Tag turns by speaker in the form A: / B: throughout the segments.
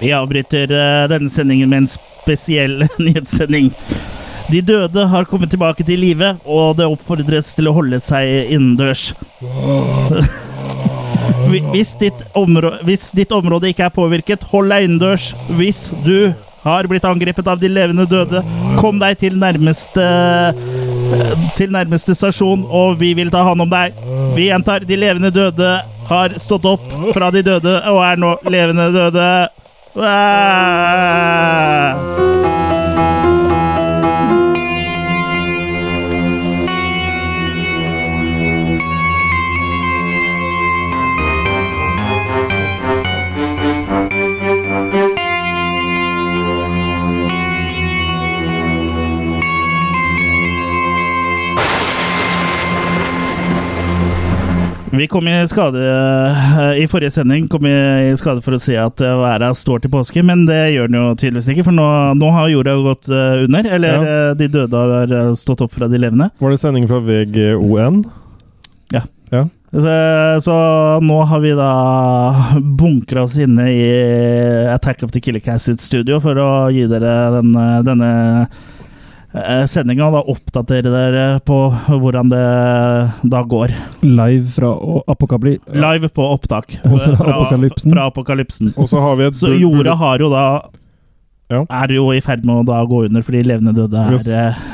A: Vi avbryter eh, denne sendingen med en spesiell nyhetssending. De døde har kommet tilbake til live, og det oppfordres til å holde seg innendørs. Hvi- Hvis ditt, områ- hvis ditt område ikke er påvirket, hold deg innendørs. Hvis du har blitt angrepet av de levende døde, kom deg til nærmeste til nærmeste stasjon, og vi vil ta hånd om deg. Vi gjentar, de levende døde har stått opp fra de døde og er nå levende døde. Æ! Vi kom i skade eh, I forrige sending kom vi i skade for å se at eh, verden står til påske, men det gjør den jo tydeligvis ikke, for nå, nå har jorda gått eh, under. Eller eh, de døde har eh, stått opp fra de levende.
B: Var det sending fra VGON?
A: Så, så nå har vi da bunkra oss inne i Attack of the Killer Cats sitt studio for å gi dere denne, denne sendinga, og da oppdatere dere på hvordan det da går.
C: Live fra å- Apokabli.
A: Live på opptak.
C: Fra apokalypsen.
A: Fra apokalypsen.
B: Og så har vi et
A: Så jorda har jo da
B: Ja.
A: Er jo i ferd med å da gå under fordi levende døde er
B: Yes.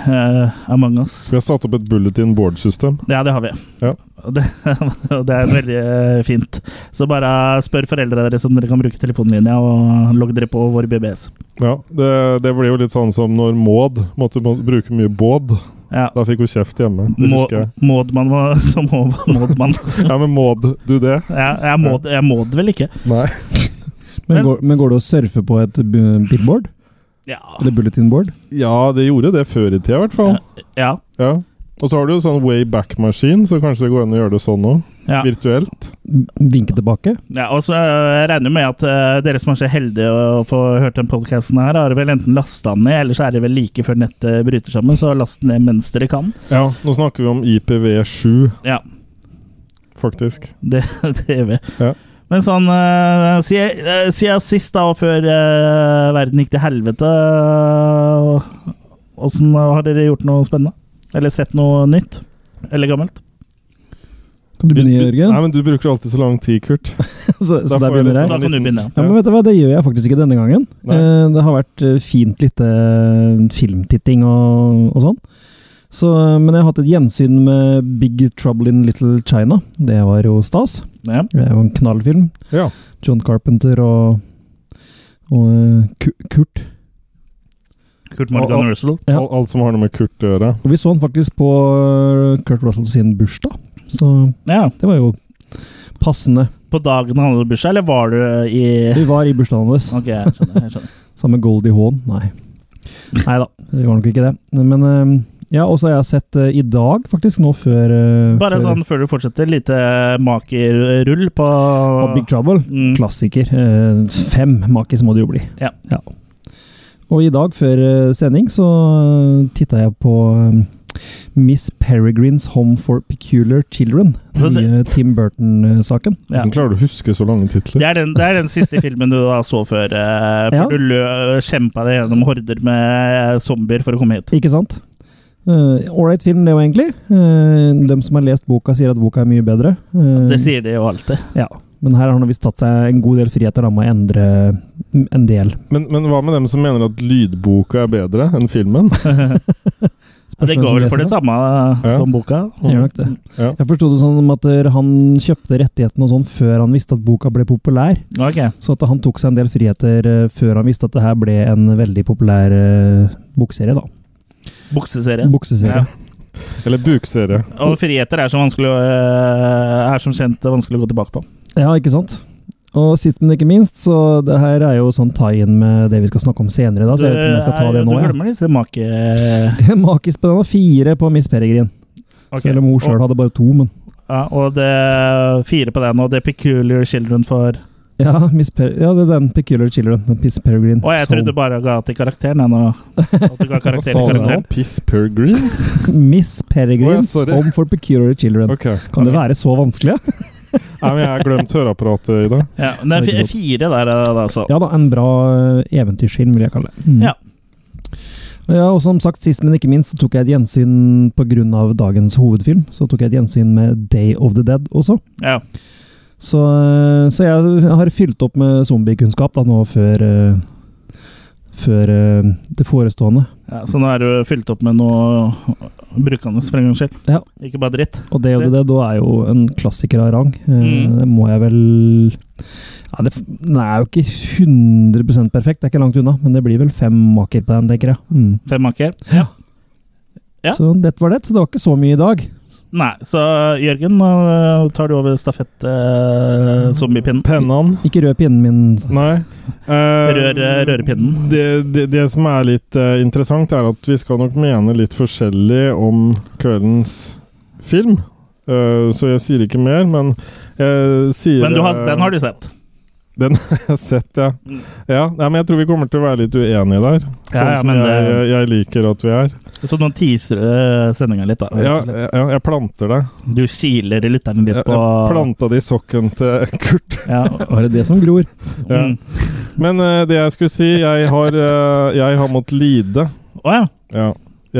A: eh, among us.
B: Vi har satt opp et bulletin board-system.
A: Ja, det har vi.
B: Ja.
A: Og Det, og det er veldig eh, fint. Så bare spør foreldra deres om dere kan bruke telefonlinja, og logg dere på vår BBS.
B: Ja, det, det blir jo litt sånn som når Maud måtte må, bruke mye båd.
A: Ja.
B: Da fikk hun kjeft hjemme. Det
A: Må,
B: husker jeg.
A: Maudmann var så må, Maudmann.
B: Ja, men Maud, du det?
A: Ja, jeg, må, jeg må det vel ikke?
B: Nei.
C: Men
A: Men-
C: går, men går det å surfe på et bu- billboard?
A: Ja.
C: Eller bulletin board?
B: Ja, det gjorde det før i tida, i hvert fall.
A: Ja.
B: Ja. Og så har du jo sånn wayback-maskin, så kanskje det går an å gjøre det sånn òg.
A: ja.
B: Virtuelt.
C: Vinke tilbake?
A: ja og så eh, jeg regner jeg med at eh, dere som er så heldige å få hørt den podkasten her, har vel enten lasta den ned, eller så er det vel like før nettet bryter sammen, så last den ned mens dere kan.
B: Ja, nå snakker vi om IPv7,
A: Ja.
B: faktisk.
A: Det, det gjør vi.
B: Ja.
A: Men sånn eh, siden, eh, siden sist, da, og før eh, verden gikk til helvete eh, Åssen har dere gjort noe spennende? Eller sett noe nytt? Eller gammelt?
C: Kan du begynne, Jørgen?
B: Nei, men du bruker alltid så lang tid, Kurt.
C: så,
B: da
C: så
B: får
C: der
B: jeg liksom litt
C: begynner jeg.
A: Så da kan du begynne.
C: Ja, men vet du hva, Det gjør jeg faktisk ikke denne gangen.
B: Nei.
C: Eh, det har vært eh, fint lite filmtitting og, og sånn. Så, eh, men jeg har hatt et gjensyn med Big Trouble in Little China. Det var jo stas.
A: Ja.
C: Det er jo en knallfilm.
B: Ja.
C: John Carpenter og, og eh, Ku- Kurt.
A: Kurt Morgan Russell.
C: Ja.
B: Al- alt som har noe med Kurt å gjøre.
C: Og vi så han faktisk på eh, Kurt Russell sin bursdag, så
A: Ja.
C: det var jo passende.
A: På dagen han hadde bursdag, eller var du eh, i
C: Vi var i bursdagen hans.
A: Ok, jeg skjønner. Jeg skjønner.
C: Sammen med Goldie Hawn? Nei. Nei da, det var nok ikke det. Men eh, ja, og så har jeg sett eh, i dag, faktisk, nå før eh,
A: Bare
C: før,
A: sånn før du fortsetter, lite makerrull på
C: Og Big Trouble.
A: Mm.
C: Klassiker. Eh, fem makis må det jo bli.
A: Ja.
C: Og i dag, før eh, sending, så uh, titta jeg på eh, Miss Peregrines Home for Peculiar Children.
A: Så
C: Den
A: det-
C: nye Tim Burton-saken.
A: Ja.
B: Hvordan klarer du å huske så lange titler?
A: Det er, den, det er den siste filmen du da så før, eh,
C: Ja.
A: før du lø, kjempa deg gjennom horder med eh, zombier for å komme hit.
C: Ikke sant? Uh, Ålreit film, det jo egentlig. Eh, de som har lest boka, sier at boka er mye bedre. Eh,
A: Det sier de jo alltid.
C: Ja, men her har han visst tatt seg en god del friheter da, med å endre mm, en del.
B: Men, men hva med dem som mener at lydboka er bedre enn filmen?
A: Ja, det går vel for det samme eh,
B: Ja.
A: som boka.
C: Gjør nok det.
B: Ja.
C: Jeg forsto det sånn som at eh, han kjøpte rettighetene og sånn før han visste at boka ble populær.
A: Ok.
C: Så at han tok seg en del friheter eh, før han visste at det her ble en veldig populær eh, bokserie, da.
A: Bukseserie.
C: Bokseserie.
A: Ja.
B: Eller bukserie.
A: Og friheter er som, vanskelig, å, eh, er som kjent vanskelig å gå tilbake på.
C: Ja, ikke sant? Og sist, men ikke minst, så det her er jo sånn tie-in med det vi skal snakke om senere. da, så jeg vet ikke om jeg skal ta
A: Du
C: det
A: er-
C: nå.
A: du
C: jeg.
A: glemmer disse make...
C: Makis på den var fire på Miss Peregrin.
A: Ok.
C: Selv om hun sjøl
A: og,
C: hadde bare to, men
A: ja, og det fire på den, og det peculiar children for
C: Ja, Miss per ja, det er den Peculiar Children. den Miss Peregrine.
A: Og jeg trodde du bare ga til karakteren, jeg nå. At du ga
B: Hva
A: karakter
B: sa
A: i
B: du nå?
A: karakteren.
B: Piss per green?
C: Miss Peregrines
B: Å, ja, sorry.
C: Home for Peculiar Children.
B: Ok.
C: Kan det
A: Ok.
C: være så vanskelig?
B: Nei, men jeg har glemt høreapparatet i dag.
A: Ja, men det er fi- fire der, eh, altså.
C: Ja da, en bra eh, eventyrfilm, vil jeg kalle det. Mm.
A: Ja.
C: Ja, og som sagt, sist men ikke minst, så tok jeg et gjensyn pga. dagens hovedfilm. Så tok jeg et gjensyn med Day of the Dead også.
A: Ja.
C: Så, eh, så jeg har fylt opp med zombiekunnskap da nå før eh, Før eh, det forestående.
A: Ja, så nå er du fylt opp med noe brukende, for en gangs skyld.
C: Ja.
A: Ikke bare dritt.
C: Og Day of the Dead da er jo en klassiker av rang. Eh,
A: Mm.
C: Det må jeg vel ja, det, f- Den er jo ikke 100 perfekt, det er ikke langt unna, men det blir vel fem maker på den, tenker jeg. Mm.
A: Fem maker. Ja.
C: Så det var det. Så det var ikke så mye i dag.
A: Nei, så Jørgen, nå eh, tar du over eh, stafett-zombiepinnen.
B: Pennene
C: Ikke rød pinnen min.
B: Nei. Eh,
A: Rør, eh, rørepinnen.
B: Det, det, det som er litt eh, interessant, er at vi skal nok mene litt forskjellig om kveldens film. Eh, så jeg sier ikke mer, men jeg sier
A: Men du har,
B: eh,
A: den har du sett.
B: jeg har sett, ja. ja. Nei, men jeg tror vi kommer til å være litt uenige
A: Ja,
B: der. sånn
A: ja,
B: som
A: men
B: jeg,
A: det-
B: jeg, jeg liker at vi er.
A: Så nå teaser uh, sendinga litt, da.
B: Ja, ja, jeg planter deg.
A: Du kiler lytterne
B: Jeg,
A: litt
B: jeg
A: på
B: planta det i sokken til Kurt.
A: ja.
C: Var det det som gror?
B: Ja.
A: Mm.
B: Men eh, det jeg skulle si, jeg har, eh, jeg har måttet lide.
A: Å ja.
B: Ja.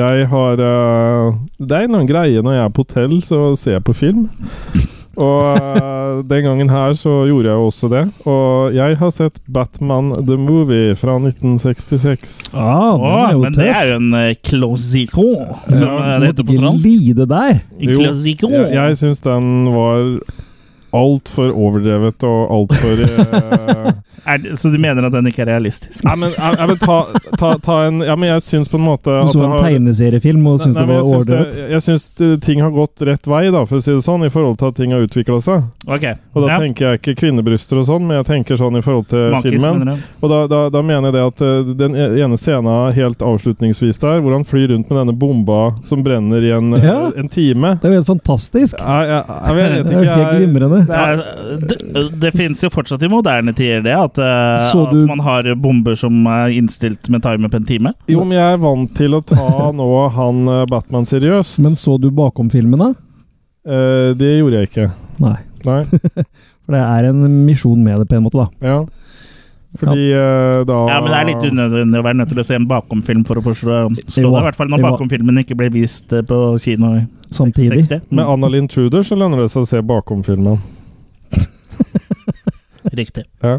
B: Jeg har eh, Det er noen greier når jeg er på hotell, så ser jeg på film. Og eh, den gangen her så gjorde jeg også det. Og jeg har sett Batman The Movie fra 1966.
C: Ah, den
A: Å,
C: er jo
A: men det
C: tøff.
A: er jo en eh, closicon, som eh, det heter på
C: Ikke
A: fransk.
C: lide der.
B: Jo,
A: Closicon.
B: Jeg, jeg syns den var altfor overdrevet og altfor uh,
A: Er det- Så du mener at den ikke er realistisk?
B: Nei, men jeg, jeg vil ta, ta, ta en Ja, men jeg syns på en måte
C: Du
B: at
C: så
B: det
C: en
B: har-
C: tegneseriefilm og
B: Nei,
C: syntes
B: nei,
C: det
B: men
C: var
B: jeg syns det-
C: overdrevet.
B: jeg- Jeg syns det- ting har gått rett vei, da, for å si det sånn, i forhold til at ting har utvikla seg.
A: Ok.
B: Og da
A: Ja.
B: tenker jeg ikke kvinnebryster og sånn, men jeg tenker sånn i forhold til
A: Makis,
B: filmen.
A: mener du?
B: Og da, da, da mener jeg det at eh, den e- ene scenen helt avslutningsvis der, hvor han flyr rundt med denne bomba som brenner i en, eh,
C: Ja.
B: en time
C: Det er jo helt fantastisk.
B: jeg, jeg, jeg, vet
C: Det
B: ikke
C: er jo helt
B: jeg,
C: glimrende.
A: Ja,
B: Det er-
A: Eh, det, det finnes jo fortsatt i moderne tider, det. At, eh,
C: Så du-
A: at man har bomber som er innstilt med timer på en time.
B: Jo, men jeg er vant til å ta nå han eh, Batman seriøst.
C: Men så du bakom filmen, da?
B: Eh, det gjorde jeg ikke.
C: Nei.
B: Nei.
C: For det er en misjon med det, på en måte, da.
B: Ja. Fordi eh, da
A: Ja, Men det er
C: Ah.
A: litt unødvendig å være nødt til å se en bakomfilm for å forstå eh, forstå det. I hvert fall når
C: Det var-
A: bakomfilmen ikke ble vist eh, på kino i Mm,
C: Samtidig.
A: 60.
B: Med Annalyn Truder så lønner det seg å se bakom filmen.
A: Riktig.
B: Det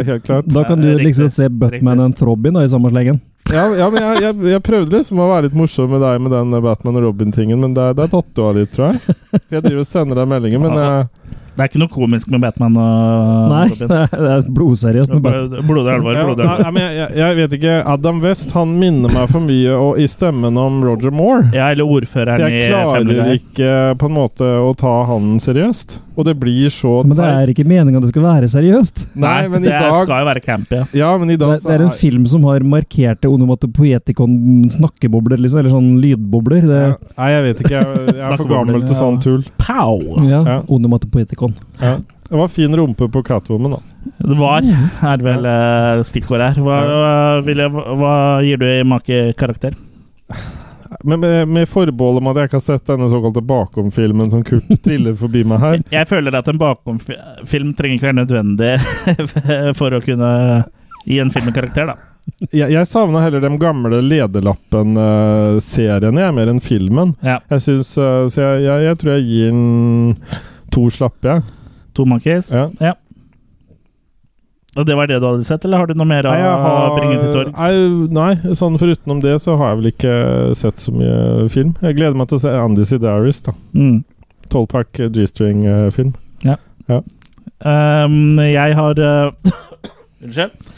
B: er helt klart.
C: Da kan du
A: Ja, riktig.
C: liksom se Buttman
A: Riktig.
C: and Throbbin da, i samme slengen.
B: Ja, ja men jeg, jeg, jeg prøvde liksom å være litt morsom med deg med den eh, Batman og Robin-tingen, men der, der datt du av litt, tror jeg. For jeg driver og sender deg meldinger, men eh,
A: Det er ikke noe komisk med Batman og
C: Nei,
A: Robin.
C: det er blodseriøst. med Butt-
A: Blodig alvor.
B: ja,
A: Blodig
B: nei,
A: alvor.
B: nei, men jeg, jeg, jeg vet ikke. Adam West han minner meg for mye og, i stemmen om Roger Moore.
A: Ja, eller
B: Så
A: ordføreren i
B: jeg
A: Family
B: klarer
A: Guy.
B: ikke på en måte å ta han seriøst. Og det blir så
C: Men det er ikke meninga det skal være seriøst.
B: Nei, men i
A: det er-
B: dag
A: skal jo være campy. Ja.
B: Ja, men i
C: Det
B: dag
C: er, altså det er en film som har markerte onomatopoetikon-snakkebobler, liksom. Eller sånn lydbobler. Det,
B: Ja, Nei, jeg vet ikke. Jeg, jeg er
A: Snakker
B: for gammel
A: bobler,
B: til
A: ja.
B: sånn tull.
A: Pow!
C: ja,
B: Ja.
C: onomatopoetikon.
B: Ja. Det var fin rumpe på Catwoman, da.
A: Det var,
B: Mhm.
A: er vel eh, stikkordet her. Hva, hva, vil jeg, hva gir du i makekarakter?
B: Men med, med forbehold om at jeg ikke har sett denne såkalte bakom-filmen som Kurt triller forbi meg her.
A: Jeg, jeg føler at en bakomfilm trenger ikke være nødvendig for å kunne gi en film en karakter, da.
B: Jeg, jeg savna heller de gamle Lederlappen-seriene, jeg, mer enn filmen.
A: Ja.
B: Jeg syns eh, Så jeg, jeg, jeg tror jeg gir den to slappe, jeg.
A: To monkeys.
B: Ja.
A: Og det var det du hadde sett, eller har du noe mer å
B: Nei, jeg har-
A: bringe til torgs?
B: Nei, nei, sånn forutenom det så har jeg vel ikke sett så mye film. Jeg gleder meg til å se Andy Sidaris, da. eh,
A: Mm.
B: Tolvpack G-string-film.
A: Um, jeg har eh, Unnskyld.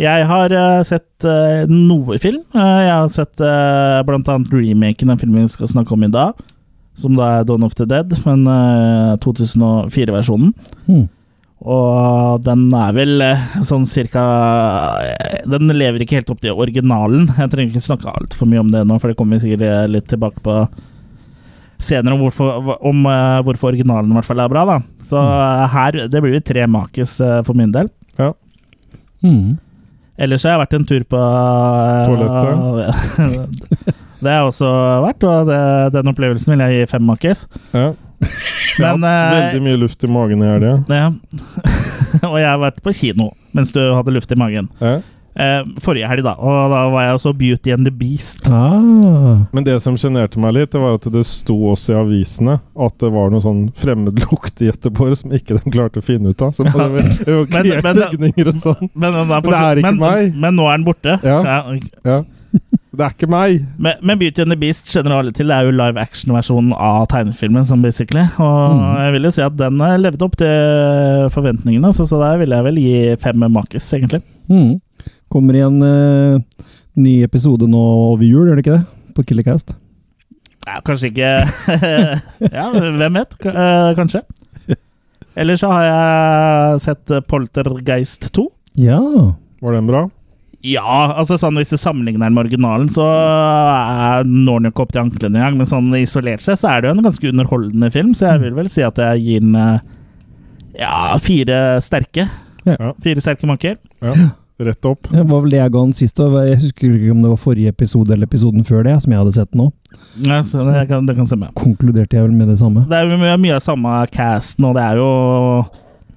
A: Jeg har eh, sett eh, noe film. Eh, jeg har sett eh, blant annet remaken av filmen vi skal snakke om i dag. Som da er Dawn of the Dead, men eh, 2004-versjonen.
C: Hmm.
A: Og den er vel eh, sånn cirka eh, Den lever ikke helt opp til originalen. Jeg trenger ikke snakke altfor mye om det nå, for det kommer vi sikkert eh, litt tilbake på senere, om hvorfor, om, eh, hvorfor originalen i hvert fall er bra. da Så eh, her Det blir jo tre makis eh, for min del.
C: Hmm.
A: Ellers har jeg vært en tur på eh,
B: Toalettet?
A: Det er også verdt, og det, den opplevelsen vil jeg gi fem makkis.
B: Ja.
A: Men eh,
B: Veldig mye luft i magen i helga.
A: ja. Og jeg har vært på kino mens du hadde luft i magen.
B: Ja.
A: Eh, forrige helg, da. Og da var jeg også Beauty and the Beast.
C: Ah.
B: Men det som sjenerte meg litt, det var at det sto også i avisene at det var noe sånn fremmedlukt i Göteborg som ikke de klarte å finne ut av. Så de hadde evakuert
A: men det-
B: bygninger og sånn.
A: Men, den
B: Men det er ikke
A: men,
B: meg.
A: men nå er den borte.
B: Ja.
A: ok.
B: Det er ikke meg!
A: Men, men Beauty and the Beast kjenner alle til. Det er jo live action-versjonen av tegnefilmen. Sånn basically Og
C: Mm.
A: jeg vil jo si at den eh, levde opp til forventningene, så, så der vil jeg vel gi fem makis, egentlig.
C: Mm. Kommer i en eh, ny episode nå over jul, gjør det ikke det? På Killercast.
A: Ja, kanskje ikke Ja, hvem vet? K- eh, Kanskje. Eller så har jeg sett eh, Poltergeist 2.
C: Ja.
B: Var den bra?
A: Ja, altså sånn hvis du sammenligner den med originalen, så er- når den jo ikke opp til anklene engang. Men sånn isolert sett så er det jo en ganske underholdende film, så jeg vil vel si at jeg gir den eh, ja, fire sterke.
B: Ja.
A: Fire sterke makker.
B: Ja. Rett opp.
C: Det var vel det jeg ga den sist. og Jeg husker ikke om det var forrige episode eller episoden før det, som jeg hadde sett nå.
A: Ja, så det kan, det kan stemme.
C: Konkluderte jeg vel med det samme.
A: Det er jo mye, mye av samme casten, og det er jo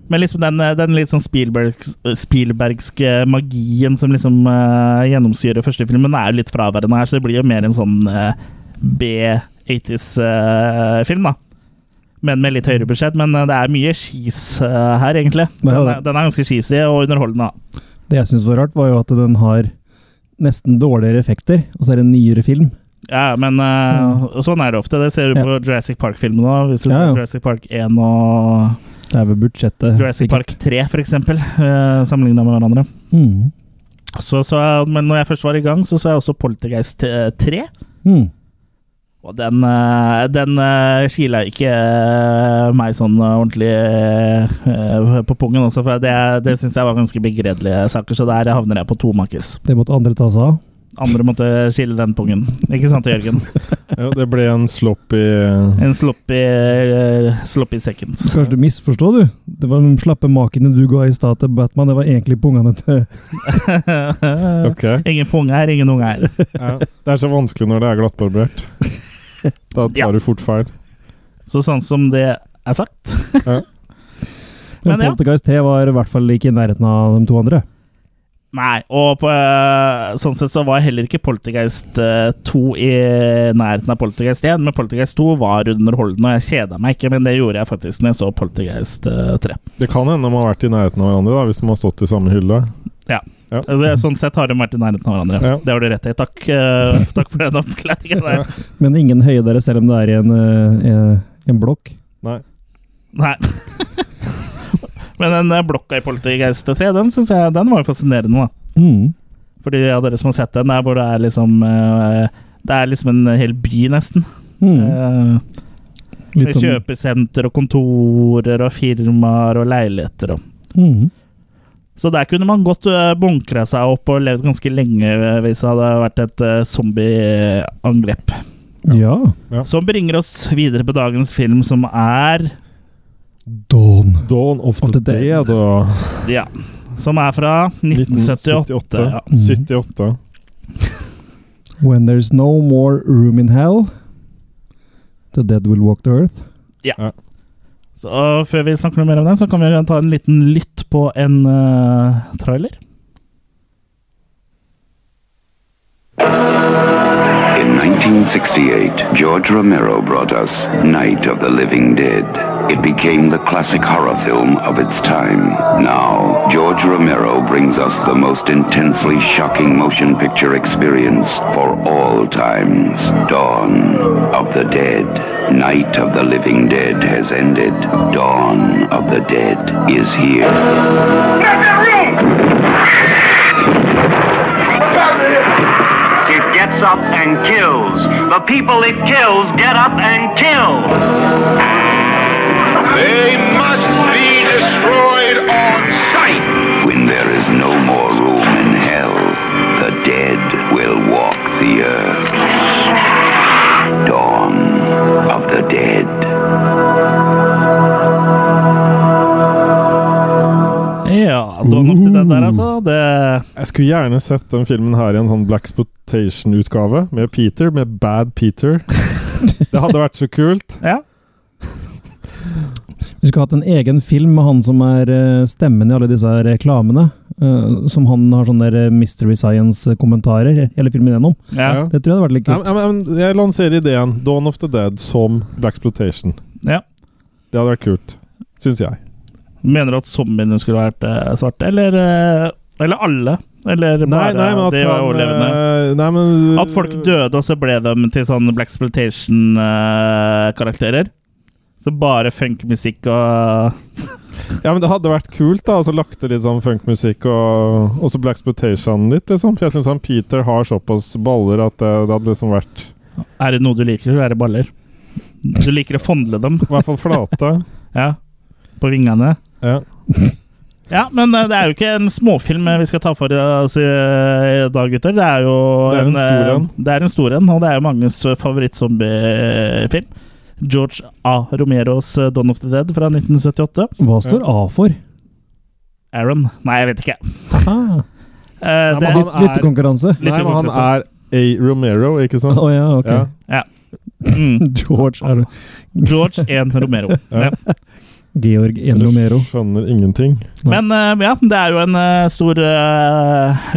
A: Men liksom den, den litt sånn Spielbergs, Spielbergske magien som liksom eh, gjennomsyrer første filmen, er jo litt fraværende her, så det blir jo mer en sånn eh, B80s-film, da. Men med litt høyere budsjett. Men eh, det er mye skis eh, her, egentlig. Så
C: Det er
A: den,
C: jo
A: er, den er ganske skisig og underholdende. da.
C: Det jeg syns var rart, var jo at den har nesten dårligere effekter, og så er det en nyere film.
A: Ja, men eh, og sånn er det ofte. Det ser du
C: Mm. Ja.
A: på Jurassic Park-filmene òg. Hvis du
C: Ja, ja.
A: ser Jurassic Park 1 og
C: Det er vel budsjettet.
A: Jurassic
C: sikkert.
A: Park 3, for eksempel, eh, sammenlignet med hverandre.
C: Mm.
A: Så, så jeg, men når jeg først var i gang, så så jeg også Poltergeist eh, 3.
C: Mm.
A: Og den, eh, den eh, kila ikke eh, meg sånn eh, ordentlig eh, på pungen også, for det, det syns jeg var ganske begredelige saker, så der havner jeg på to makis.
C: Det måtte andre ta seg av.
A: Andre måtte skille den pungen. Ikke sant, Jørgen?
B: Ja, det ble en sloppy
A: En sloppy, eh, sloppy seconds.
C: Kanskje du misforstår, du. Det var de slappe makene du ga i stad til Batman, det var egentlig pungene til
B: Ok.
A: ingen punge her, ingen unge her.
B: Ja. Det er så vanskelig når det er glattbarbert. Da
A: Ja.
B: tar du fort feil.
A: Så sånn som det er sagt Men
C: Men
A: ja.
C: Poltergeist 3 var i hvert fall ikke i nærheten av de to andre.
A: Nei, og på, øh, sånn sett så var heller ikke Poltergeist øh, 2 i nærheten av Poltergeist 1, men Poltergeist 2 var underholdende, og jeg kjeda meg ikke, men det gjorde jeg faktisk når jeg så Poltergeist øh, 3.
B: Det kan hende de har vært i nærheten av hverandre da, hvis de har stått i samme hylle.
A: Altså, det- sånn sett har de vært i nærheten av hverandre.
B: Ja.
A: Det har du rett i. Takk, øh, takk for den oppklaringen der.
C: Men ingen høydere, selv om det er i en, eh, eh, en blokk.
B: Nei.
A: Nei. men den øh, blokka i Poltergeist 3, den synes jeg den var jo fascinerende, da.
C: Mm.
A: For de av dere som har sett den, der hvor det er liksom øh, Det er liksom en hel by, nesten.
C: Mm.
A: Eh,
C: Litt sånn-
A: Med kjøpesenter og kontorer og firmaer og leiligheter og
C: Mm.
A: Så der kunne man godt øh, bunkra seg opp og levd ganske lenge øh, hvis det hadde vært et øh, zombieangrep.
C: Ja.
A: Som bringer oss videre på dagens film, som er
C: Dawn.
B: Dawn of
C: Of
B: the
C: the Dead.
B: Dead og
A: Ja. Som er fra 1978.
B: 1978.
A: Ja.
C: Mm.
B: 78.
C: When there's no more room in hell, the dead will walk the earth.
A: Så øh, før vi snakker noe mer om den, så kan vi ta en liten lytt på en øh, trailer.
D: In 1968, George Romero brought us Night of the Living Dead. It became the classic horror film of its time. Now, George Romero brings us the most intensely shocking motion picture experience for all times. Dawn of the Dead. Night of the Living Dead has ended. Dawn of the Dead is here.
E: It gets up and kills. The people it kills get up and kill.
F: They must be destroyed on sight.
D: When there is no more room in hell, the dead will walk the earth. Dawn of the dead.
A: Ja, Dawn of the Dead der, altså. Det
B: Jeg Jeg skulle gjerne sett den filmen her i en sånn Blaxpotation-utgave med Peter, med Bad Peter. Det hadde vært så kult.
A: Ja.
C: Vi skulle hatt en egen film med han som er eh, stemmen i alle disse her reklamene. eh, Som han har sånne der eh, Mystery Science-kommentarer hele filmen gjennom.
A: Ja.
B: Ja.
C: Det tror jeg hadde vært litt
B: Ja,
C: kult.
B: men- ja, men jeg lanserer ideen Dawn of the Dead som Blaxploitation.
A: Ja.
B: Det hadde vært kult, syns jeg.
A: Mener du at zombiene skulle vært eh, svarte, eller, eh, eller alle? Eller
B: Nei,
A: bare
B: nei, men at
A: de
B: han,
A: overlevende?
B: eh, nei, men,
A: At folk døde, og så ble de til sånne Black Exploitation-karakterer. Så bare funkmusikk og
B: Ja, men det hadde vært kult, da. Og så lagt til litt sånn funkmusikk og også Blaxploitation litt, liksom. For jeg syns han Peter har såpass baller at det, det hadde liksom vært
A: Er det noe du liker, så er det baller. Du liker å fondle dem.
B: I hvert fall flate.
A: Ja. På vingene.
B: Ja.
A: Ja, men eh, det er jo ikke en småfilm eh, vi skal ta for oss i eh, i dag, gutter. Det er jo
B: Det er en
A: eh,
B: stor en.
A: Det er en stor en, og det er jo manges eh, favorittzombiefilm. George A. Romeros eh, 'Dawn of the Dead' fra 1978.
C: Hva står A for?
A: Aaron Nei, jeg vet ikke.
C: Ah,
A: Eh,
B: Nei, men
A: det,
B: han
C: lyt- Lyttekonkurranse.
A: Litt
B: Nei, men han
A: ukontroversielt.
B: er A. Romero, ikke
C: Å
B: sant?
C: ja, ok.
B: Ja.
A: mm,
C: George er det.
A: George 1. Romero.
B: Ja.
A: Ja.
C: Georg N. Romero.
B: Skjønner ingenting.
C: Nei.
A: Men eh, ja, det er jo en eh, stor eh,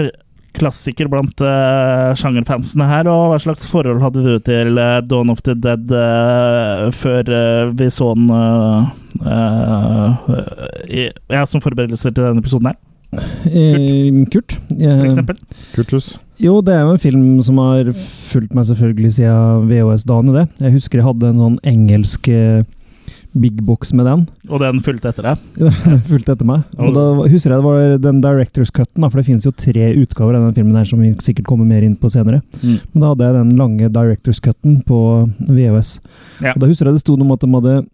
A: klassiker blant eh, sjangerfansene her. Og hva slags forhold hadde du til eh, Dawn of the Dead eh, før eh, vi så den eh, eh, i, Ja, som forberedelser til denne episoden her,
C: Eh, Kurt.
A: for
C: Eh,
A: eksempel?
B: Kurtus.
C: Jo, det er jo en film som har fulgt meg selvfølgelig siden VHS-dagene, det. Jeg husker jeg hadde en sånn engelsk eh, big box med den.
A: Og den fulgte etter deg?
C: Fulgt etter meg. Og da var- husker jeg det var den Directors Cut-en, da, for det finnes jo tre utgaver av den filmen her som vi sikkert kommer mer inn på senere.
A: Mm.
C: Men da hadde jeg den lange Directors Cut-en på VHS.
A: Ja.
C: Og da husker jeg det sto noe om at de hadde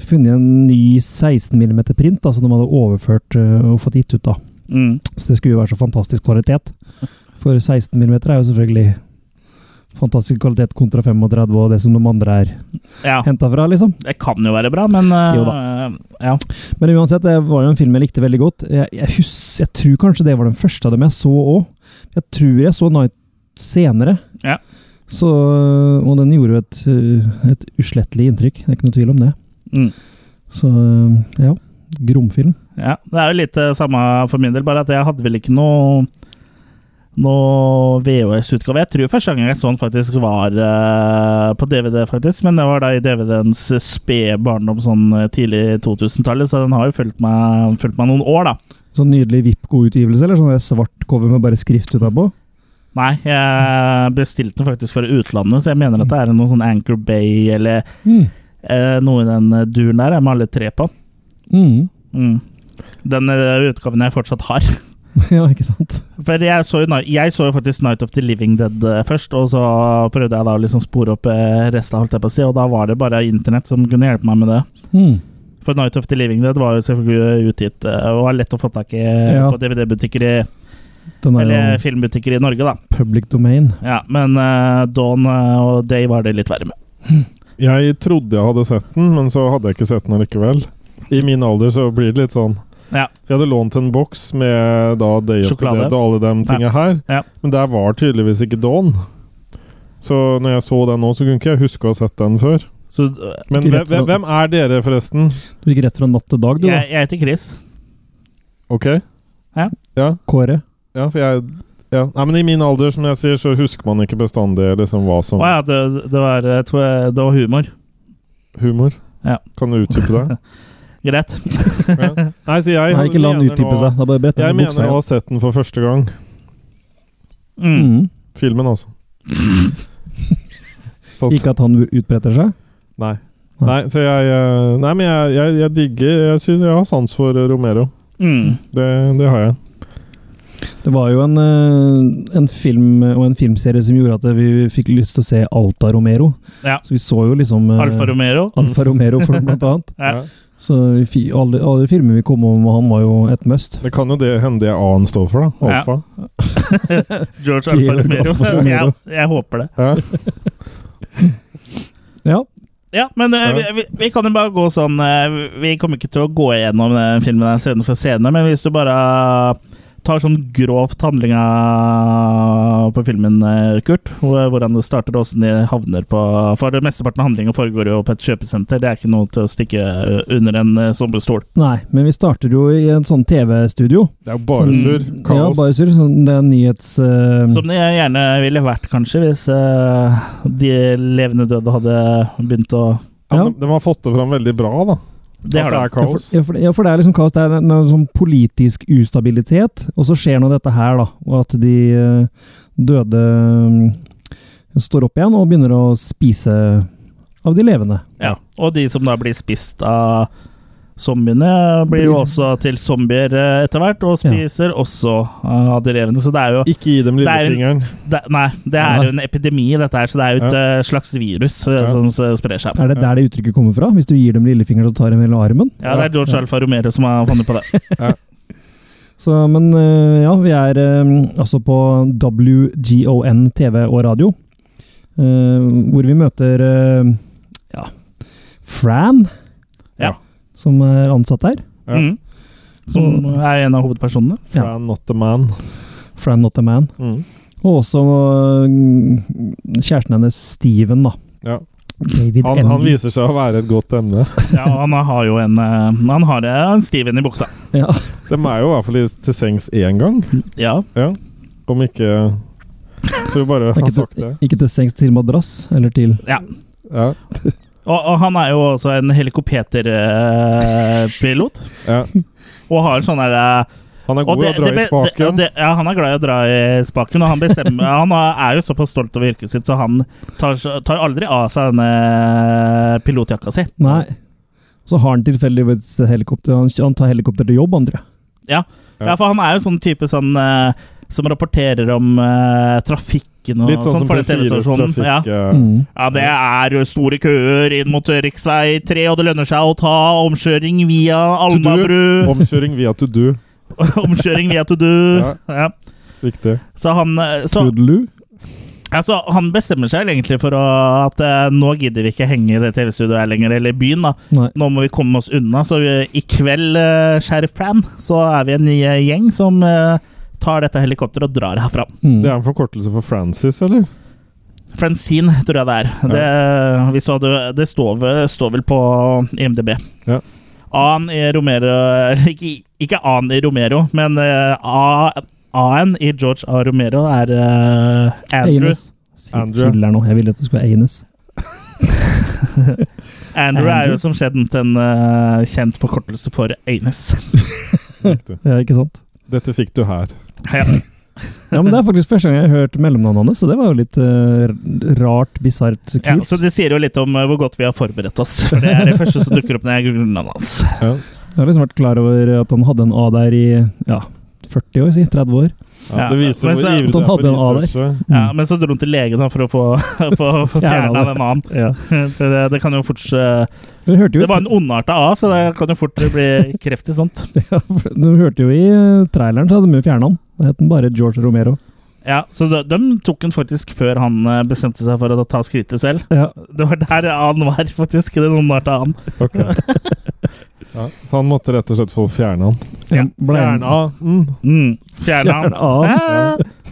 C: funnet en ny 16 mm-print, altså de hadde overført eh, og fått gitt ut, da.
A: Mm.
C: Så det skulle jo være så fantastisk kvalitet. For 16 mm er jo selvfølgelig fantastisk kvalitet kontra 35 og det som de andre er
A: Ja,
C: henta fra, liksom.
A: det kan jo være bra, men eh,
C: Jo
A: Ja.
C: Men uansett, det var jo en film jeg likte veldig godt. Jeg, jeg, hus, jeg tror kanskje det var den første av dem jeg så òg. Jeg tror jeg så Night senere.
A: Ja.
C: Så, og den gjorde jo et, øh, et uslettelig inntrykk. Det er ikke noe tvil om det.
A: Mm.
C: Så øh, ja, gromfilm.
A: Ja, det er jo litt eh, samme for min del, bare at jeg hadde vel ikke noe noe VHS-utgave. Jeg tror første gang jeg så den faktisk var eh, på DVD, faktisk. Men det var da i DVD-ens spede barndom, eh, sånn eh, tidlig 2000-tallet, så den har jo fulgt meg, fulgt meg noen år, da.
C: Sånn nydelig Vipco-utgivelse, eller sånn der svart cover med bare skrift utapå.
A: Nei, jeg bestilte den faktisk fra utlandet, så jeg mener at det er noe sånn Anchor Bay eller
C: Mm.
A: eh, noe i den eh, duren der, jeg med alle tre på.
C: Mm.
A: Mm. Den eh, utgaven jeg fortsatt har.
C: ja, ikke sant?
A: For jeg så, jo, Ni- jeg så jo faktisk Night of the Living Dead eh, først, og så prøvde jeg da å liksom spore opp eh, resten, holdt jeg på å si, og da var det bare internett som kunne hjelpe meg med det.
C: Mm.
A: For Night of the Living Dead var jo selvfølgelig utgitt, eh, og var lett å få tak i eh,
C: Ja.
A: på DVD-butikker i,
C: Den er
A: eller
C: jo
A: filmbutikker i Norge, da.
C: public domain.
A: Ja, men eh, Dawn eh, og Day var det litt verre med.
B: Jeg trodde jeg hadde sett den, men så hadde jeg ikke sett den allikevel. I min alder så blir det litt sånn.
A: Ja.
B: For Jeg hadde lånt en boks med da Day of the
A: Sjokolade.
B: Dead og alle de tinga her,
A: Ja.
B: men der var tydeligvis ikke Dawn. Så når jeg så den nå, så kunne ikke jeg huske å ha sett den før.
A: Så eh,
B: Men
C: Ikke
B: hvem,
C: rett fra-
B: hvem- hvem er dere, forresten?
C: Du gikk rett fra natt til dag, du da,
A: jeg, jeg heter Chris.
B: Ok?
A: Ja.
B: Ja,
C: Kåre.
B: ja for jeg ja. Nei, men I min alder, som jeg sier, så husker man ikke bestandig liksom hva
A: Å
B: som
A: ja, det, det, var, eh, tve- det var humor.
B: Humor.
A: Ja.
B: Kan du utdype det?
A: Greit.
B: Ja. Nei, så jeg
C: Nei, ikke la han
B: mener
C: utdype
B: nå-
C: seg. Da bare bretter
B: Jeg
C: han
B: mener
C: buksa
B: å ha
C: igjen.
B: sett den for første gang.
A: Mm.
C: Mm.
B: Filmen, altså. Sånn.
C: Ikke at han utbretter seg.
B: Nei.
C: Nei.
B: Nei, så jeg eh, Nei, men jeg, jeg, jeg digger Jeg synes jeg har sans for eh, Romero.
A: Mm.
B: Det, det har jeg.
C: Det var jo en, eh, en film og en filmserie som gjorde at vi fikk lyst til å se Alta Romero.
A: Ja.
C: Så vi så jo liksom eh,
A: Alfa Romero.
C: Alfa Romero for dem, blant annet.
A: Ja.
C: Så vi fi- alle, alle filmer vi kom om, han var jo et must.
B: Det kan jo det hende det A-en står for, da.
A: Ja.
B: Alfa.
A: George Alfa
C: Georg
A: Romero.
C: Alfa Romero.
A: Jeg, jeg håper det.
B: Ja.
C: Ja.
A: Ja, men eh,
B: Ja.
A: vi, vi, vi kan jo bare gå eh, sånn eh, Vi kommer ikke til å gå gjennom den filmen her scene for scene, men hvis du bare tar sånn grovt handlinga på filmen, eh, Kurt. hvor- Hvordan det starter og åssen de havner på For det mesteparten av handlinga foregår jo på et kjøpesenter. Det er ikke noe til å stikke eh, under en eh, sommerstol.
C: Nei, men vi starter jo i en sånn TV-studio.
B: Det er jo bare
A: Sånn-
B: surr.
C: Mm. Ja,
B: Kaos.
C: bare sur. Sånn, det er nyhets... eh,
A: Som det gjerne ville vært, kanskje, hvis eh, de levende døde hadde begynt å
B: ja.
C: Ja.
B: men De har fått det fram veldig bra, da.
A: Det
B: At
A: har
B: det
A: de.
B: er kaos.
C: Ja, for, ja, for det er liksom kaos. Det er en, en sånn politisk ustabilitet, og så skjer nå dette her, da. Og at de eh, døde mm, står opp igjen og begynner å spise av de levende.
A: Ja. Og de som da blir spist av zombiene, blir jo
C: Blir-
A: også til zombier eh, etter hvert, og spiser også eh, av de revene. Så det er jo
B: Ikke gi dem
A: Det er-
B: lillefingeren.
A: det, Nei, det er jo en epidemi, dette her, så det er jo et
B: Ja.
A: eh, slags virus eh,
B: Ja.
A: som s- sprer seg.
C: Er det der det uttrykket kommer fra? Hvis du gir dem lillefingeren og tar dem hele armen?
A: Ja, det er George Alfa Romero som har funnet på det.
C: Så, men eh, ja, vi er eh, altså på WGON TV og radio, eh, hvor vi møter eh, ja, Fran,
A: Ja.
C: som er ansatt der.
B: Ja.
A: Mm. Som er en av hovedpersonene.
C: Ja.
B: Fran not the man.
C: Fran Not A Man.
B: Mm.
C: Og også øh, kjæresten hennes, Steven, da.
B: Ja.
C: David
B: Han,
C: Engie.
B: han viser seg å være et godt emne.
A: Ja, og han har jo en, eh, han har eh, en Steven i buksa.
C: Ja.
B: De er jo i hvert fall i- til sengs én gang.
A: Ja,
B: Ja. Om ikke For å bare ha
C: Ikke,
B: sagt
C: til,
B: det.
C: ikke til sengs, til madrass. Eller til
A: ja.
B: Ja.
A: Og, og han er jo også en helikopterpilot. eh,
B: ja.
A: og har sånn der eh,
B: Han er
A: og
B: god i å
A: det-
B: dra
A: det be-
B: i
A: det-
B: spaken.
A: det- Ja, han er glad i å dra i spaken, og han bestemmer Han er jo såpass stolt over yrket sitt, så han tar, så- tar aldri av seg denne eh, pilotjakka si.
C: Nei. Så har han tilfeldigvis helikopter. Han, han tar helikopter til jobb, han, tror jeg.
A: Ja.
B: Ja.
A: ja, for han er jo sånn type sånn eh, som rapporterer om eh, trafikken og
B: Litt sånn som
A: for
B: på
A: den
B: Fires
A: TV-stasjonen.
B: trafikk.
A: Ja.
B: eh,
C: Mm.
A: Ja, det er jo store køer inn mot riksvei 3, og det lønner seg å ta omkjøring via
B: to do.
A: Alnabru.
B: Omkjøring via to do.
A: omkjøring via to do.
B: Ja.
A: Ja.
B: Riktig.
A: Så han eh, så,
C: Toodaloo.
A: Altså, han bestemmer seg vel egentlig for å, at eh, nå gidder vi ikke henge i det TV-studioet her lenger, eller i byen, da.
C: Nei.
A: Nå må vi komme oss unna, så vi, i kveld, eh, Sheriff Pram, så er vi en ny, eh, gjeng som eh, tar dette helikopteret og drar herfra.
C: Mm.
B: Det er en forkortelse for Francis, eller?
A: Francine, tror jeg det er. Det, hvis du hadde, det står, vel, står vel på IMDb.
B: Ja.
A: A-en i Romero Ikke, ikke A-en i Romero, men eh, A- A-en i George A. Romero er eh, Andrew.
C: Anus.
B: Andrew.
C: Filler nå. Jeg ville at det skulle være Anus.
A: Andrew er
C: Andrew.
A: jo som kjent en eh, kjent forkortelse for anus.
B: Riktig.
C: Ja, ikke sant?
B: Dette fikk du her.
A: Ja.
C: Ja, men Det er faktisk første gang jeg har hørt mellomnavnet hans, så det var jo litt øh, r- rart, bisart, kult.
A: Ja, så Det sier jo litt om eh, hvor godt vi har forberedt oss. For Det er det første som dukker opp når jeg googler navnet hans.
B: Ja.
C: Jeg har liksom vært klar over at han hadde en A der i ja, 40 år, si. 30 år. Mm.
B: Ja,
A: Ja,
B: det viser
A: men
B: hvor
A: så-
B: ivrig du
C: Han
B: er på
C: hadde en A der.
B: researchet.
A: Ja, Men så dro han til legen da, for å få, få
C: Fjerna
A: fjerna
C: det.
A: den annen.
C: Ja.
A: For Det, det kan jo fort eh,
C: Du hørte jo
A: Det var en ondarta A, så det kan jo fort bli kreft i sånt.
C: Ja, for du hørte jo i eh, traileren så hadde de jo fjerna han. Da het han bare George Romero.
A: Ja, Så de, de tok han faktisk før han eh, bestemte seg for å ta skrittet selv.
C: Ja,
A: Det var der A-en var, faktisk. Den ondarta A-en.
B: Ok. Ja, så han måtte rett og slett få fjerne han.
A: Ja,
C: ble-
B: Mm.
A: Mm, Fjerne han.
C: Fjerne han.
A: Ja.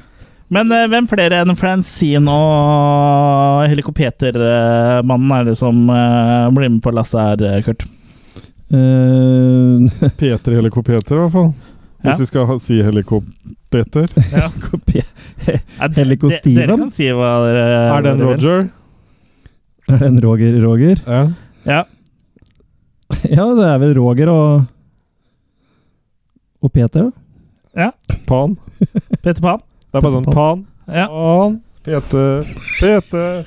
A: Men eh, hvem flere enn Francine og helikoptermannen er det som eh, blir med på lasset her, eh, Kurt?
C: Eh,
B: Peter Helikopeter, i hvert fall. Hvis
A: Ja.
B: vi skal ha, si Helikopeter.
C: kopi-
A: Ja, de-
C: Helico
A: de-
C: Steven?
A: Dere kan si hva dere
B: Er det
A: dere
B: en
A: vil.
B: Roger?
C: Er det en Roger Roger?
B: Ja.
A: Ja.
C: Ja, det er vel Roger og Og Peter, da.
B: Pan.
A: Peter Pan?
B: Det er bare sånn Pan.
A: Ja.
B: Pan. Peter. Peter.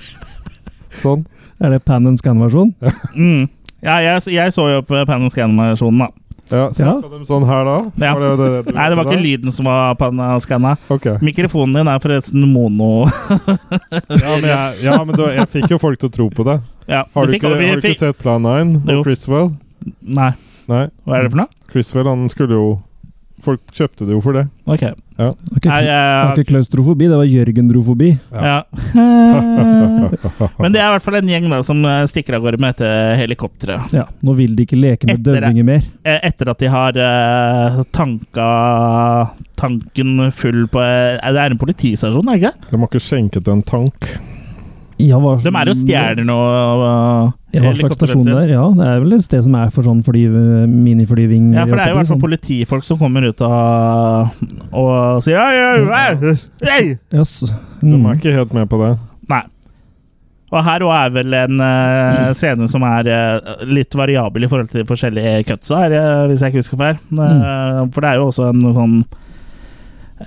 B: Sånn.
C: Er det Pan and Scan-versjon?
A: Mm. ja jeg, så- jeg så jo på Pan Scan-versjonen, da.
B: Ja, Snakka de sånn her da?
A: Ja.
B: Var det, det, du
A: Nei, det var
B: gjorde
A: ikke
B: da?
A: lyden som var Pan Scanna.
B: Ok.
A: Mikrofonen din er forresten mono.
B: Ja, men, jeg, ja, men da, jeg fikk jo folk til å tro på det.
A: Ja,
B: Har
A: vi
B: du,
A: fikk-
B: ikke,
A: vi
B: har du
A: fikk-
B: ikke sett Plan 9
A: Jo.
B: og Chriswell?
A: Nei,
B: Nei.
A: hva er det for noe?
B: Chriswell, han skulle jo Folk kjøpte det jo for det.
A: Ok.
B: Ja.
C: Det
A: Nei,
C: var ikke, det var
A: jeg,
C: ikke klaustrofobi, det var jørgendrofobi.
A: ja. Eh. Men det er i hvert fall en gjeng da som eh, stikker av gårde med dette helikopteret.
C: Ja, nå vil de ikke leke med
A: Etter det.
C: døvinger mer.
A: Eh, Etter at de har eh, tanka tanken full på eh, Det er en politistasjon, er det ikke?
B: De har ikke skjenket en tank.
C: Ja, hva,
A: De er og stjeler noe eh,
C: Mm. Ja, hva slags
A: helikopteret
C: stasjon det
A: sitt.
C: er? Ja, det er vel et sted som er for sånn flyv, miniflyving
A: Ja, for det er jo i hvert fall
C: sånn.
A: politifolk som kommer ut og, og sier «Ei, ei,
C: Mm.
A: ei, ei!»
C: Yes.
B: De
C: Mm.
B: er ikke helt med på det.
A: Nei. Og her òg er vel en eh, scene som er eh, litt variabel i forhold til de forskjellige cutsa, her, eh, hvis jeg ikke husker feil. Eh, for det er jo også en sånn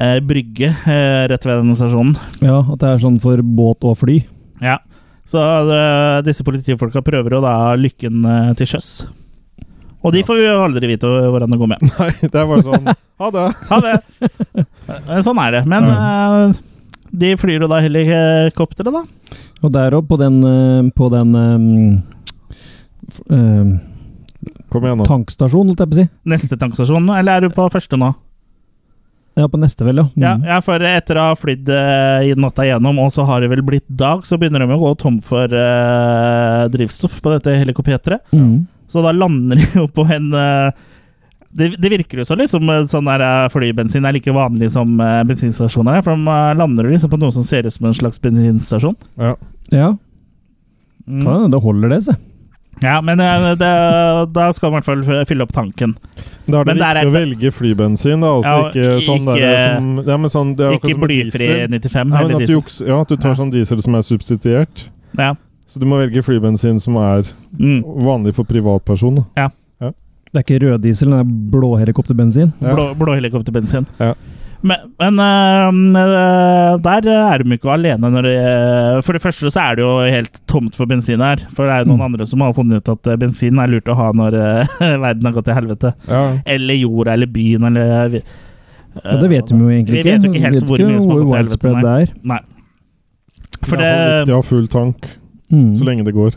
A: eh, brygge eh, rett ved denne stasjonen.
C: Ja, at det er sånn for båt og fly.
A: Ja. Så eh, disse politifolka prøver jo da lykken eh, til sjøs. Og de får vi jo aldri vite hvordan det går med.
B: Nei, det er bare sånn Ha det!
A: Ha det! Eh, sånn er det. Men eh, de flyr jo da helikopteret, da.
C: Og der opp, på den, eh, på den eh, f- eh,
B: Kom igjen, nå.
C: tankstasjonen, holdt jeg på å si.
A: Neste tankstasjon, eller er du på første nå?
C: Ja, på neste vel, ja. Mm.
A: Ja, ja, for etter å ha flydd eh, i natta gjennom, og så har det vel blitt dag, så begynner de å gå tom for eh, drivstoff på dette helikopteret.
C: Mm.
A: Så da lander de jo på en eh, det, det virker jo så liksom eh, sånn der eh, flybensin er like vanlig som eh, bensinstasjoner er, for de eh, lander jo liksom på noe som ser ut som en slags bensinstasjon.
B: Ja.
C: Ja,
A: Mm.
C: faen, det holder det, se.
A: Ja, men eh, det, da skal man i hvert fall fylle opp tanken.
B: Da er det
A: Men der
B: viktig
A: er
B: å
A: det-
B: velge flybensin, da. Altså,
A: Ja,
B: ikke sånn
A: ikke-
B: der som ja, men sånn, det er akkurat
A: Ikke
B: som med
A: blyfri
B: diesel.
A: 95
B: Nei, men
A: eller
B: at du,
A: diesel.
B: juks- ja, at du tar
A: Ja.
B: sånn diesel som er subsidiert.
A: Ja.
B: Så du må velge flybensin som er
A: Mm.
B: vanlig for privatperson. da.
C: Det er ikke rød diesel, det er blå helikopterbensin.
B: Ja.
A: Blå, blå helikopterbensin.
B: Ja.
A: Men, men øhm, øh, der er de ikke alene. Når de, øh, for det første så er det jo helt tomt for bensin her. For det er jo noen
C: Mm.
A: andre som har funnet ut at øh, bensin er lurt å ha når øh, verden har gått til helvete.
B: Ja.
A: Eller jorda, eller byen, eller eh, vi- Eh,
C: Ja, det vet de jo egentlig
A: Vi
C: ikke.
A: vet jo ikke helt hvor mye som har gått til helvete.
C: widespread
A: Nei.
C: det er.
A: Nei. For
B: det er viktig
A: det,
B: å ha full tank
C: Mm.
B: så lenge det går.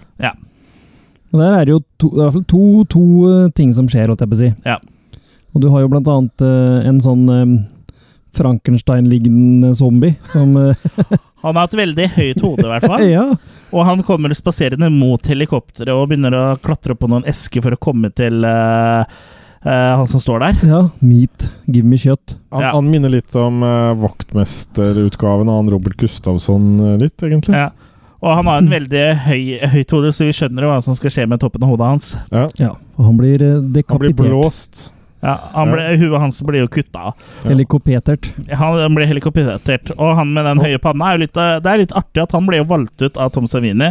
C: Og der er det jo to, det er i hvert fall to, to eh, ting som skjer, holdt jeg på å si.
A: Ja.
C: Og du har jo blant annet eh, en sånn eh, Frankenstein-lignende zombie som eh,
A: han har et veldig høyt hode, i hvert fall.
C: Ja.
A: Og han kommer spaserende mot helikopteret og begynner å klatre opp på noen esker for å komme til øh, øh, han som står der.
C: ja. Meat. Give me kjøtt.
B: Han,
A: Ja.
B: han minner litt om eh, vaktmesterutgaven av han Robert Gustavsson eh, litt, egentlig.
A: Ja. Og han har en veldig høy, høyt hode, så vi skjønner jo hva som skal skje med toppen av hodet hans.
C: Ja. Og han blir eh,
B: Han blir
C: dekapitert.
B: blåst.
A: Ja, han ble, Huet hans blir jo kutta av.
B: Ja.
C: Eller kopetert.
A: Han blir helikoptert. Og han med den høye panna er jo litt eh, Det er litt artig at han ble jo valgt ut av Tom Savini,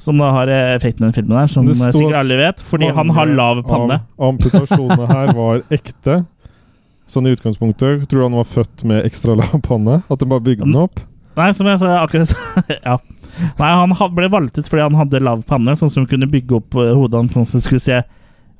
A: som da har eh, effekten i den filmen her, som
B: Det
A: eh,
B: står-
A: sikkert alle vet, fordi han har lav panne.
B: Am- amputasjonene her var ekte. Sånn i utgangspunktet. Tror du han var født med ekstra lav panne? At de bare bygde den opp?
A: Nei, som jeg sa akkurat så- Ja. Nei, han had- ble valgt ut fordi han hadde lav panne, sånn som kunne bygge opp eh, hodet hans sånn som det skulle se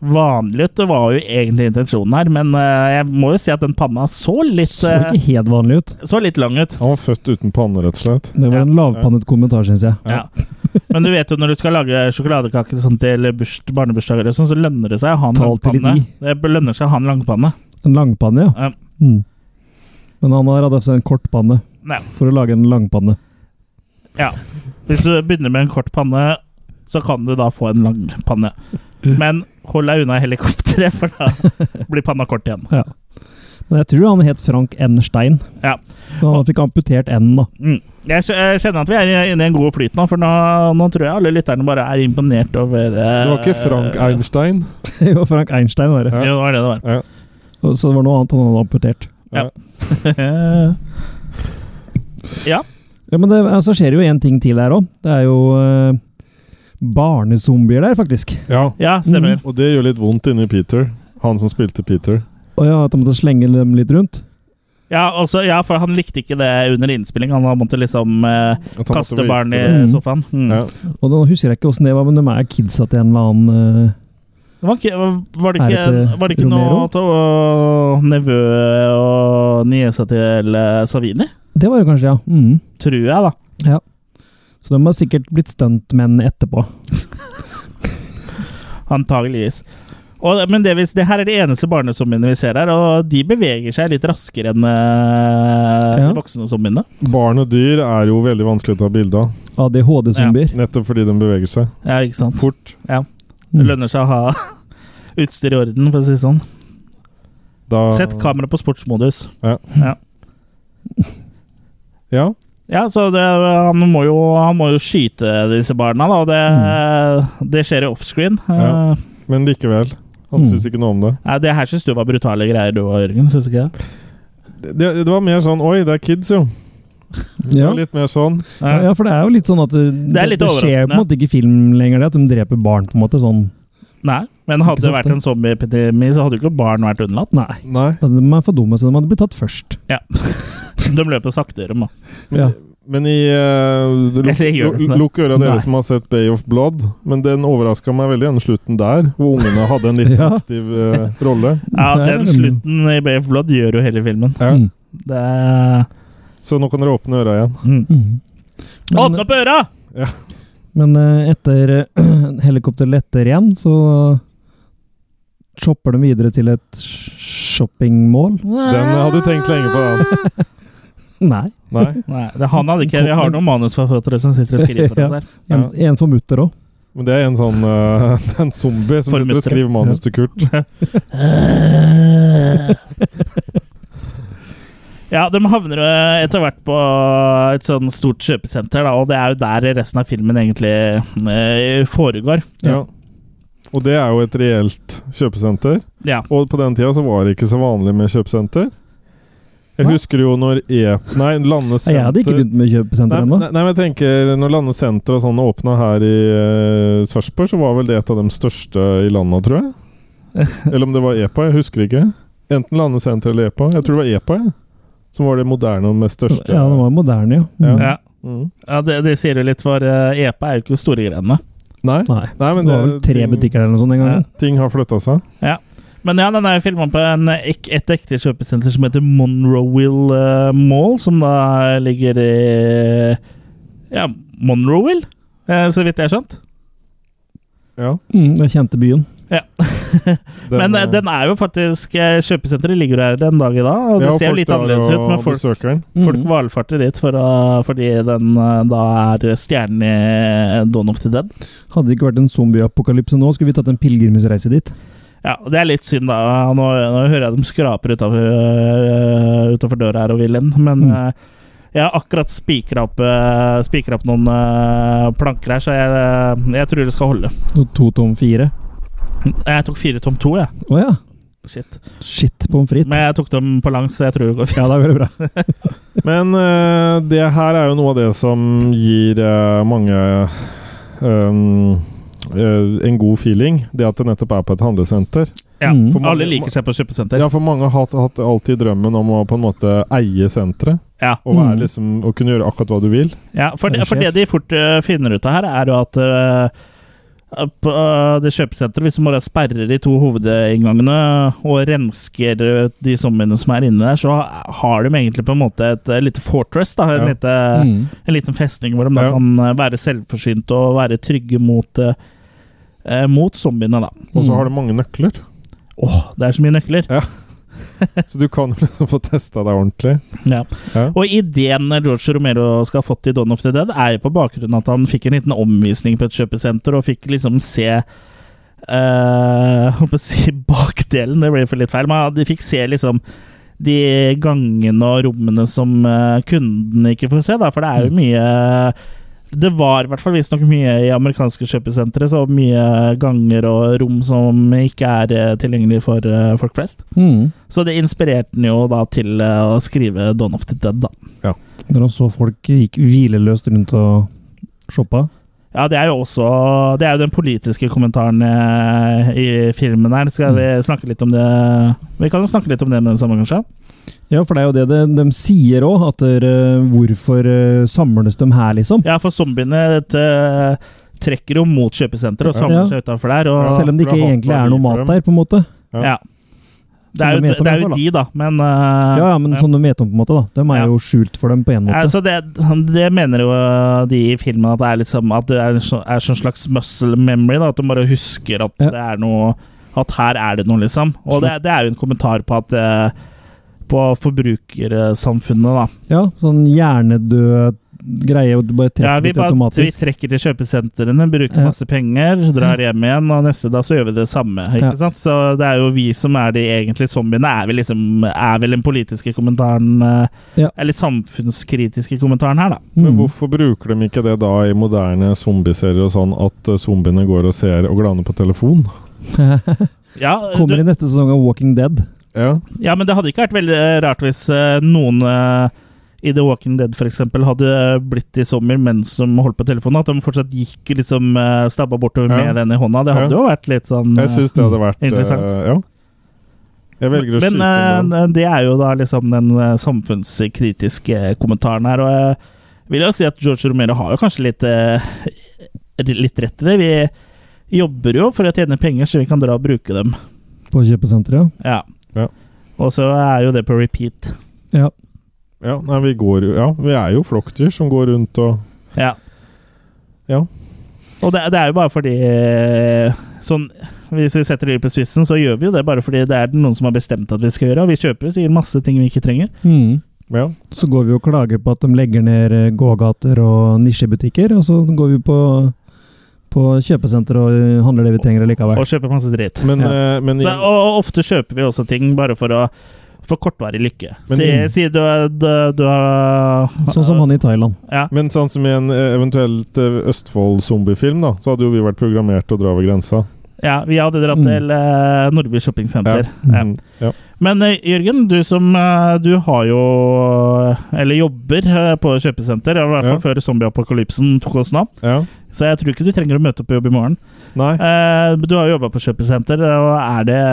A: vanlig ut. Det var jo egentlig intensjonen her, men eh, jeg må jo si at den panna så litt
C: Så
A: eh,
C: ikke helt vanlig ut.
A: så litt lang ut.
B: Han var født uten panne, rett og slett.
C: Det var
A: Ja.
C: en lavpannet kommentar, syns jeg.
A: Ja. Men du vet jo når du skal lage sjokoladekaker og sånt til burs- barnebursdager, og sånn, så lønner det seg å ha en
C: Tall til
A: langpanne.
C: ni.
A: Det lønner seg å ha en langpanne.
C: En langpanne, ja.
A: Ja.
C: Mm. Men han har hatt altså en kortpanne
A: Ja.
C: for å lage en langpanne.
A: Hvis du begynner med en kort panne, så kan du da få en lang panne. Men hold deg unna helikopteret, for da blir panna kort igjen.
C: Ja. Men jeg tror han het Frank N. Stein.
A: Ja.
C: Så han fikk amputert N, da.
A: Mm. Jeg skj- jeg kjenner at vi er inne i en god flyt nå, for nå, nå tror jeg alle lytterne bare er imponert over eh,
B: Det var ikke Frank Einstein.
C: Det var Frank Einstein, var det.
A: Jo, det var det det var.
C: Og Så det var noe annet han hadde amputert. Ja, men det, ja, Så skjer jo en ting til her òg. Det er jo eh, barnezombier der, faktisk.
B: Ja.
A: ja, stemmer.
B: Og det gjør litt vondt inni Peter. Han som spilte Peter.
C: Og ja, at han måtte slenge dem litt rundt.
A: Ja, også, ja, for han likte ikke det under innspilling. Han måtte liksom eh,
B: At han måtte
A: kaste barn i
B: vise det.
C: det.
A: sofaen. Mm.
B: Ja.
C: Og da husker jeg ikke åssen det var, men de er kidsa til en eller annen eh,
A: Det var, ikke, var det
C: Er
A: ikke,
C: det ikke
A: var det ikke
C: Romero?
A: noe av nevø og niesa til eh, Savini?
C: Det var det kanskje, ja. Mhm.
A: Tror jeg, da.
C: Så de har sikkert blitt stuntmenn etterpå.
A: Antageligvis. Og, men det, vi- det her er de eneste barnezombiene vi ser her, og de beveger seg litt raskere enn eh,
C: Ja.
A: de voksne zombiene.
B: Barn og dyr er jo veldig vanskelig å ta bilde av.
C: ADHD-zombier.
B: Nettopp fordi de beveger seg
A: Ja, ikke sant?
C: Mm.
B: fort.
A: Det lønner seg å ha utstyr i orden, for å si det sånn.
B: Da
A: Sett kamera på sportsmodus.
B: Ja.
A: Ja, så det, han, må jo, han må jo skyte disse barna, da. og Det, eh, det skjer i offscreen.
B: Ja.
A: Eh,
B: Men likevel. Han
C: Mm.
B: syns ikke noe om det.
A: Nei, det her syns du var brutale greier, du og Jørgen. Syns du ikke det?
B: det. Det var mer sånn Oi, det er kids, jo. Det
C: Ja.
B: var litt mer sånn.
C: Ja,
A: Eh,
C: ja, for det er jo litt sånn at det,
A: er litt
C: det skjer på en
A: overraskende.
C: måte ikke i film lenger, det at de dreper barn, på en måte. Sånn
A: Nei, men hadde det
C: Ikke sant,
A: vært
C: det.
A: en zombieepidemi, så hadde jo ikke barn vært unnlatt.
C: Nei.
B: Nei.
C: De er for dumme, så de hadde blitt tatt først.
A: Ja. De løper saktere, da.
C: Ja.
B: Men i eh, luk,
A: Eller gjør den
B: lu-
A: det?
B: Lukk øra dere
C: Nei.
B: som har sett Bay of Blood. Men den overraska meg veldig, den slutten der, hvor ungene hadde en litt
C: Ja.
B: aktiv eh, rolle.
A: Ja,
C: Det er
A: den
C: veldig-
A: slutten i Bay of Blood gjør jo hele filmen.
B: Ja.
C: Mm.
A: Det er...
B: Så nå kan dere åpne øra igjen.
A: mm.
C: Mm. Men,
A: Åpne opp øra!
C: men eh, etter eh, helikopterlet etter igjen, så chopper de videre til et sh- shoppingmål.
B: Den hadde du tenkt lenge på, den.
C: Nei.
B: Nei.
A: Nei, det, han hadde ikke Vi har noen manusforfattere som sitter og skriver for oss her.
C: En, en for mutter òg.
B: Men det er en sånn eh, Det er en zombie som sitter og
A: Formuttere.
B: skriver manus til Kurt.
A: Ja, de havner eh, etter hvert på et sånn stort kjøpesenter, da, og det er jo der resten av filmen egentlig eh, foregår.
B: Ja. Og det er jo et reelt kjøpesenter.
A: Ja.
B: Og på den tida så var det ikke så vanlig med kjøpesenter. Jeg
C: Nei.
B: husker jo når E... Nei, Lande
C: Jeg hadde ikke
B: senter
C: begynt med kjøpesenter
B: Nei,
C: ennå.
B: nei, nei, men jeg tenker Når Lande senter og sånn åpna her i uh, Sarpsborg, så var vel det et av de største i landet, tror jeg. Eller om det var EPA, jeg husker ikke. Enten Lande senter eller EPA. Jeg tror det var E EPA, jeg. Som var det moderne og mest største.
C: Ja, den var moderne, ja. Mm.
A: Ja.
B: Mm.
A: Ja, det, det sier jo litt, for eh, EPA er jo ikke store greiene.
B: Nei.
C: Nei.
B: Nei, men
C: det var vel
B: det-
C: tre
B: ting-
C: butikker eller noe sånt en gang.
A: Ja.
B: Ting har flytta seg.
A: Men ja, den er jo filma på en, ek- et ekte kjøpesenter som heter Monroeville eh, Mall, som da ligger i Ja, Monroeville, eh, så vidt jeg har skjønt.
B: Ja.
C: Mm, jeg kjente byen.
A: Men eh, den er jo faktisk eh, Kjøpesenteret ligger jo her den dag i dag, og det
B: Ja,
A: ser jo litt
B: drar
A: annerledes ut,
B: og
A: men folk,
B: besøker den.
C: mm.
A: folk valfarter dit for å, fordi den eh, da er stjernen i eh, Dawn of the Dead.
C: Hadde det ikke vært en zombieapokalypse nå, skulle vi tatt en pilegrimsreise dit.
A: Ja, og Det er litt synd, da. Nå, nå hører jeg dem skraper utafor, øh, utenfor døra her og vil inn. Men
C: Mm.
A: øh, jeg har akkurat spikra opp, øh, spikret opp noen øh, planker her, så jeg, øh, jeg tror det skal holde.
C: Så to tom fire.
A: Jeg tok fire tom to, jeg.
C: Å ja.
A: Shit.
C: Shit pommes frites.
A: Men jeg tok dem på langs, så jeg tror det går fint.
C: Ja, da går det bra.
B: Men eh, det her er jo noe av det som gir eh, mange ehm, eh, en god feeling. Det at det nettopp er på et handlesenter.
A: Ja,
C: Mm.
A: for Alle liker seg på kjøpesenter.
B: Ja, for mange har hatt, hatt alltid drømmen om å på en måte eie senteret.
A: Ja.
B: Og være,
C: Mm.
B: liksom, og kunne gjøre akkurat hva du vil.
A: Ja, for,
C: Er
A: det,
C: det
A: for det de fort øh, finner ut av her, er jo at øh, på øh, det kjøpesenteret, hvis du bare sperrer de to hovedinngangene og rensker øh, de zombiene som er inne der, så har de egentlig på en måte et øh, lite fortress, da, en,
B: Ja.
A: lite,
C: Mm.
A: en liten festning hvor de da
B: Ja.
A: kan øh, være selvforsynte og være trygge mot, øh, øh, mot zombiene. da.
B: Og så
C: Mm.
B: har du mange nøkler.
A: Åh, det er så mye nøkler!
B: Så du kan jo liksom få testa deg ordentlig.
A: Ja.
B: Ja.
A: Og ideen George Romero skal ha fått i Dawn of the Dead, er jo på bakgrunn av at han fikk en liten omvisning på et kjøpesenter og fikk liksom se eh, Holdt på å si bakdelen, det ble for litt feil, men de fikk se liksom de gangene og rommene som eh, kundene ikke får se, da, for det er jo mye det var i hvert fall visstnok mye i amerikanske kjøpesentre, så mye ganger og rom som ikke er eh, tilgjengelig for eh, folk flest.
C: Mm.
A: Så det inspirerte den jo da til eh, å skrive Dawn of the Dead, da.
C: Når han så folk gikk hvileløst rundt og shoppa.
A: Ja, det er jo også Det er jo den politiske kommentaren eh, i filmen her. Skal vi
C: Mm.
A: snakke litt om det Vi kan jo snakke litt om det med den samme, kanskje?
C: Ja, for det er jo det de, de sier òg, at dere, hvorfor eh, samles de her, liksom?
A: Ja, for zombiene eh, trekker jo mot kjøpesenteret og samler
C: Ja.
A: seg utafor der. Og,
C: Selv om det
B: for det
C: ikke
B: er
C: egentlig
B: hatt
C: er noe
B: verdi for
C: mat
B: dem.
C: der, på en måte.
A: ja. Det er
C: Som de
A: jo,
C: vet om
A: det er
C: i hvert
A: jo
C: fall,
A: de, da, men eh,
C: Ja, ja, men sånn som de vet om, på en måte. da. De er
A: Ja.
C: jo skjult for dem på en
A: Ja,
C: måte.
A: så det, det mener jo eh, de i filmen, at det er, liksom, at det er, så, er sånn slags muscle memory. Da, at de bare husker at
C: Ja.
A: det er noe at her er det noe, liksom. Og det, det er jo en kommentar på at eh, På forbrukersamfunnet, da.
C: Ja, sånn hjernedød greie. og Du bare trekker
A: Ja, vi,
C: litt
A: bare, vi
C: automatisk.
A: trekker til kjøpesentrene, bruker
C: Ja.
A: masse penger, drar hjem igjen, og neste dag så gjør vi det samme. ikke
C: Ja.
A: sant? Så det er jo vi som er de egentlige zombiene. Er, vi liksom, er vel den politiske kommentaren eh,
C: Ja.
A: Eller samfunnskritiske kommentaren her, da.
B: Men
C: Mm.
B: hvorfor bruker de ikke det da i moderne zombieserier og sånn, at eh, zombiene går og ser og glaner på telefon?
A: Ja,
C: Kommer
A: du,
C: i neste sesong av Walking Dead.
B: Ja.
A: ja, men det hadde ikke vært veldig eh, rart hvis eh, noen eh, i The Walking Dead for eksempel, hadde blitt til zombier mens de holdt på telefonen. At de fortsatt gikk liksom eh, stabba bortover
B: Ja.
A: med den i hånda. Det hadde
B: Ja.
A: jo vært litt sånn eh,
B: Jeg syns det hadde vært eh,
A: Interessant.
B: ja. Jeg velger å
A: Men
B: skyte den.
A: eh, det er jo da liksom den eh, samfunnskritiske eh, kommentaren her, og jeg vil jo si at George Romero har jo kanskje litt, eh, litt rett i det. Vi jobber jo for å tjene penger, så vi kan dra og bruke dem.
C: På kjøpesenteret.
A: Ja.
B: Ja.
A: Og så er jo det på repeat.
C: Ja.
B: Ja, nei, vi går jo Ja, vi er jo flokkdyr som går rundt og
A: Ja.
B: Ja.
A: Og det, det er jo bare fordi eh, sånn, Hvis vi setter det litt på spissen, så gjør vi jo det bare fordi det er noen som har bestemt at vi skal gjøre, og vi kjøper jo sikkert masse ting vi ikke trenger.
C: Mm.
B: Ja.
C: Så går vi og klager på at de legger ned eh, gågater og nisjebutikker, og så går vi på, på kjøpesenter og eh, handler det vi trenger likevel.
A: Og kjøper masse dritt.
B: Men,
C: Ja.
B: eh, men
A: Så, og, og ofte kjøper vi også ting bare for å for kortvarig lykke.
B: Men-
A: si, si du, du, du har
C: Sånn som han i Thailand.
A: Ja.
B: Men sånn som i en eh, eventuelt eh, Østfold-zombiefilm, da, så hadde jo vi vært programmert til å dra over grensa.
A: ja, vi hadde dratt
C: Mm.
A: til eh, Nordby shoppingsenter. Ja.
B: Mm, ja.
A: Men eh, Jørgen, du som eh, Du har jo Eller jobber eh, på kjøpesenter, i hvert fall
B: Ja.
A: før zombieapokalypsen tok oss nå.
B: ja.
A: Så jeg tror ikke du trenger å møte opp på jobb i morgen.
B: Nei.
A: Eh, du har jo jobba på kjøpesenter, og er det,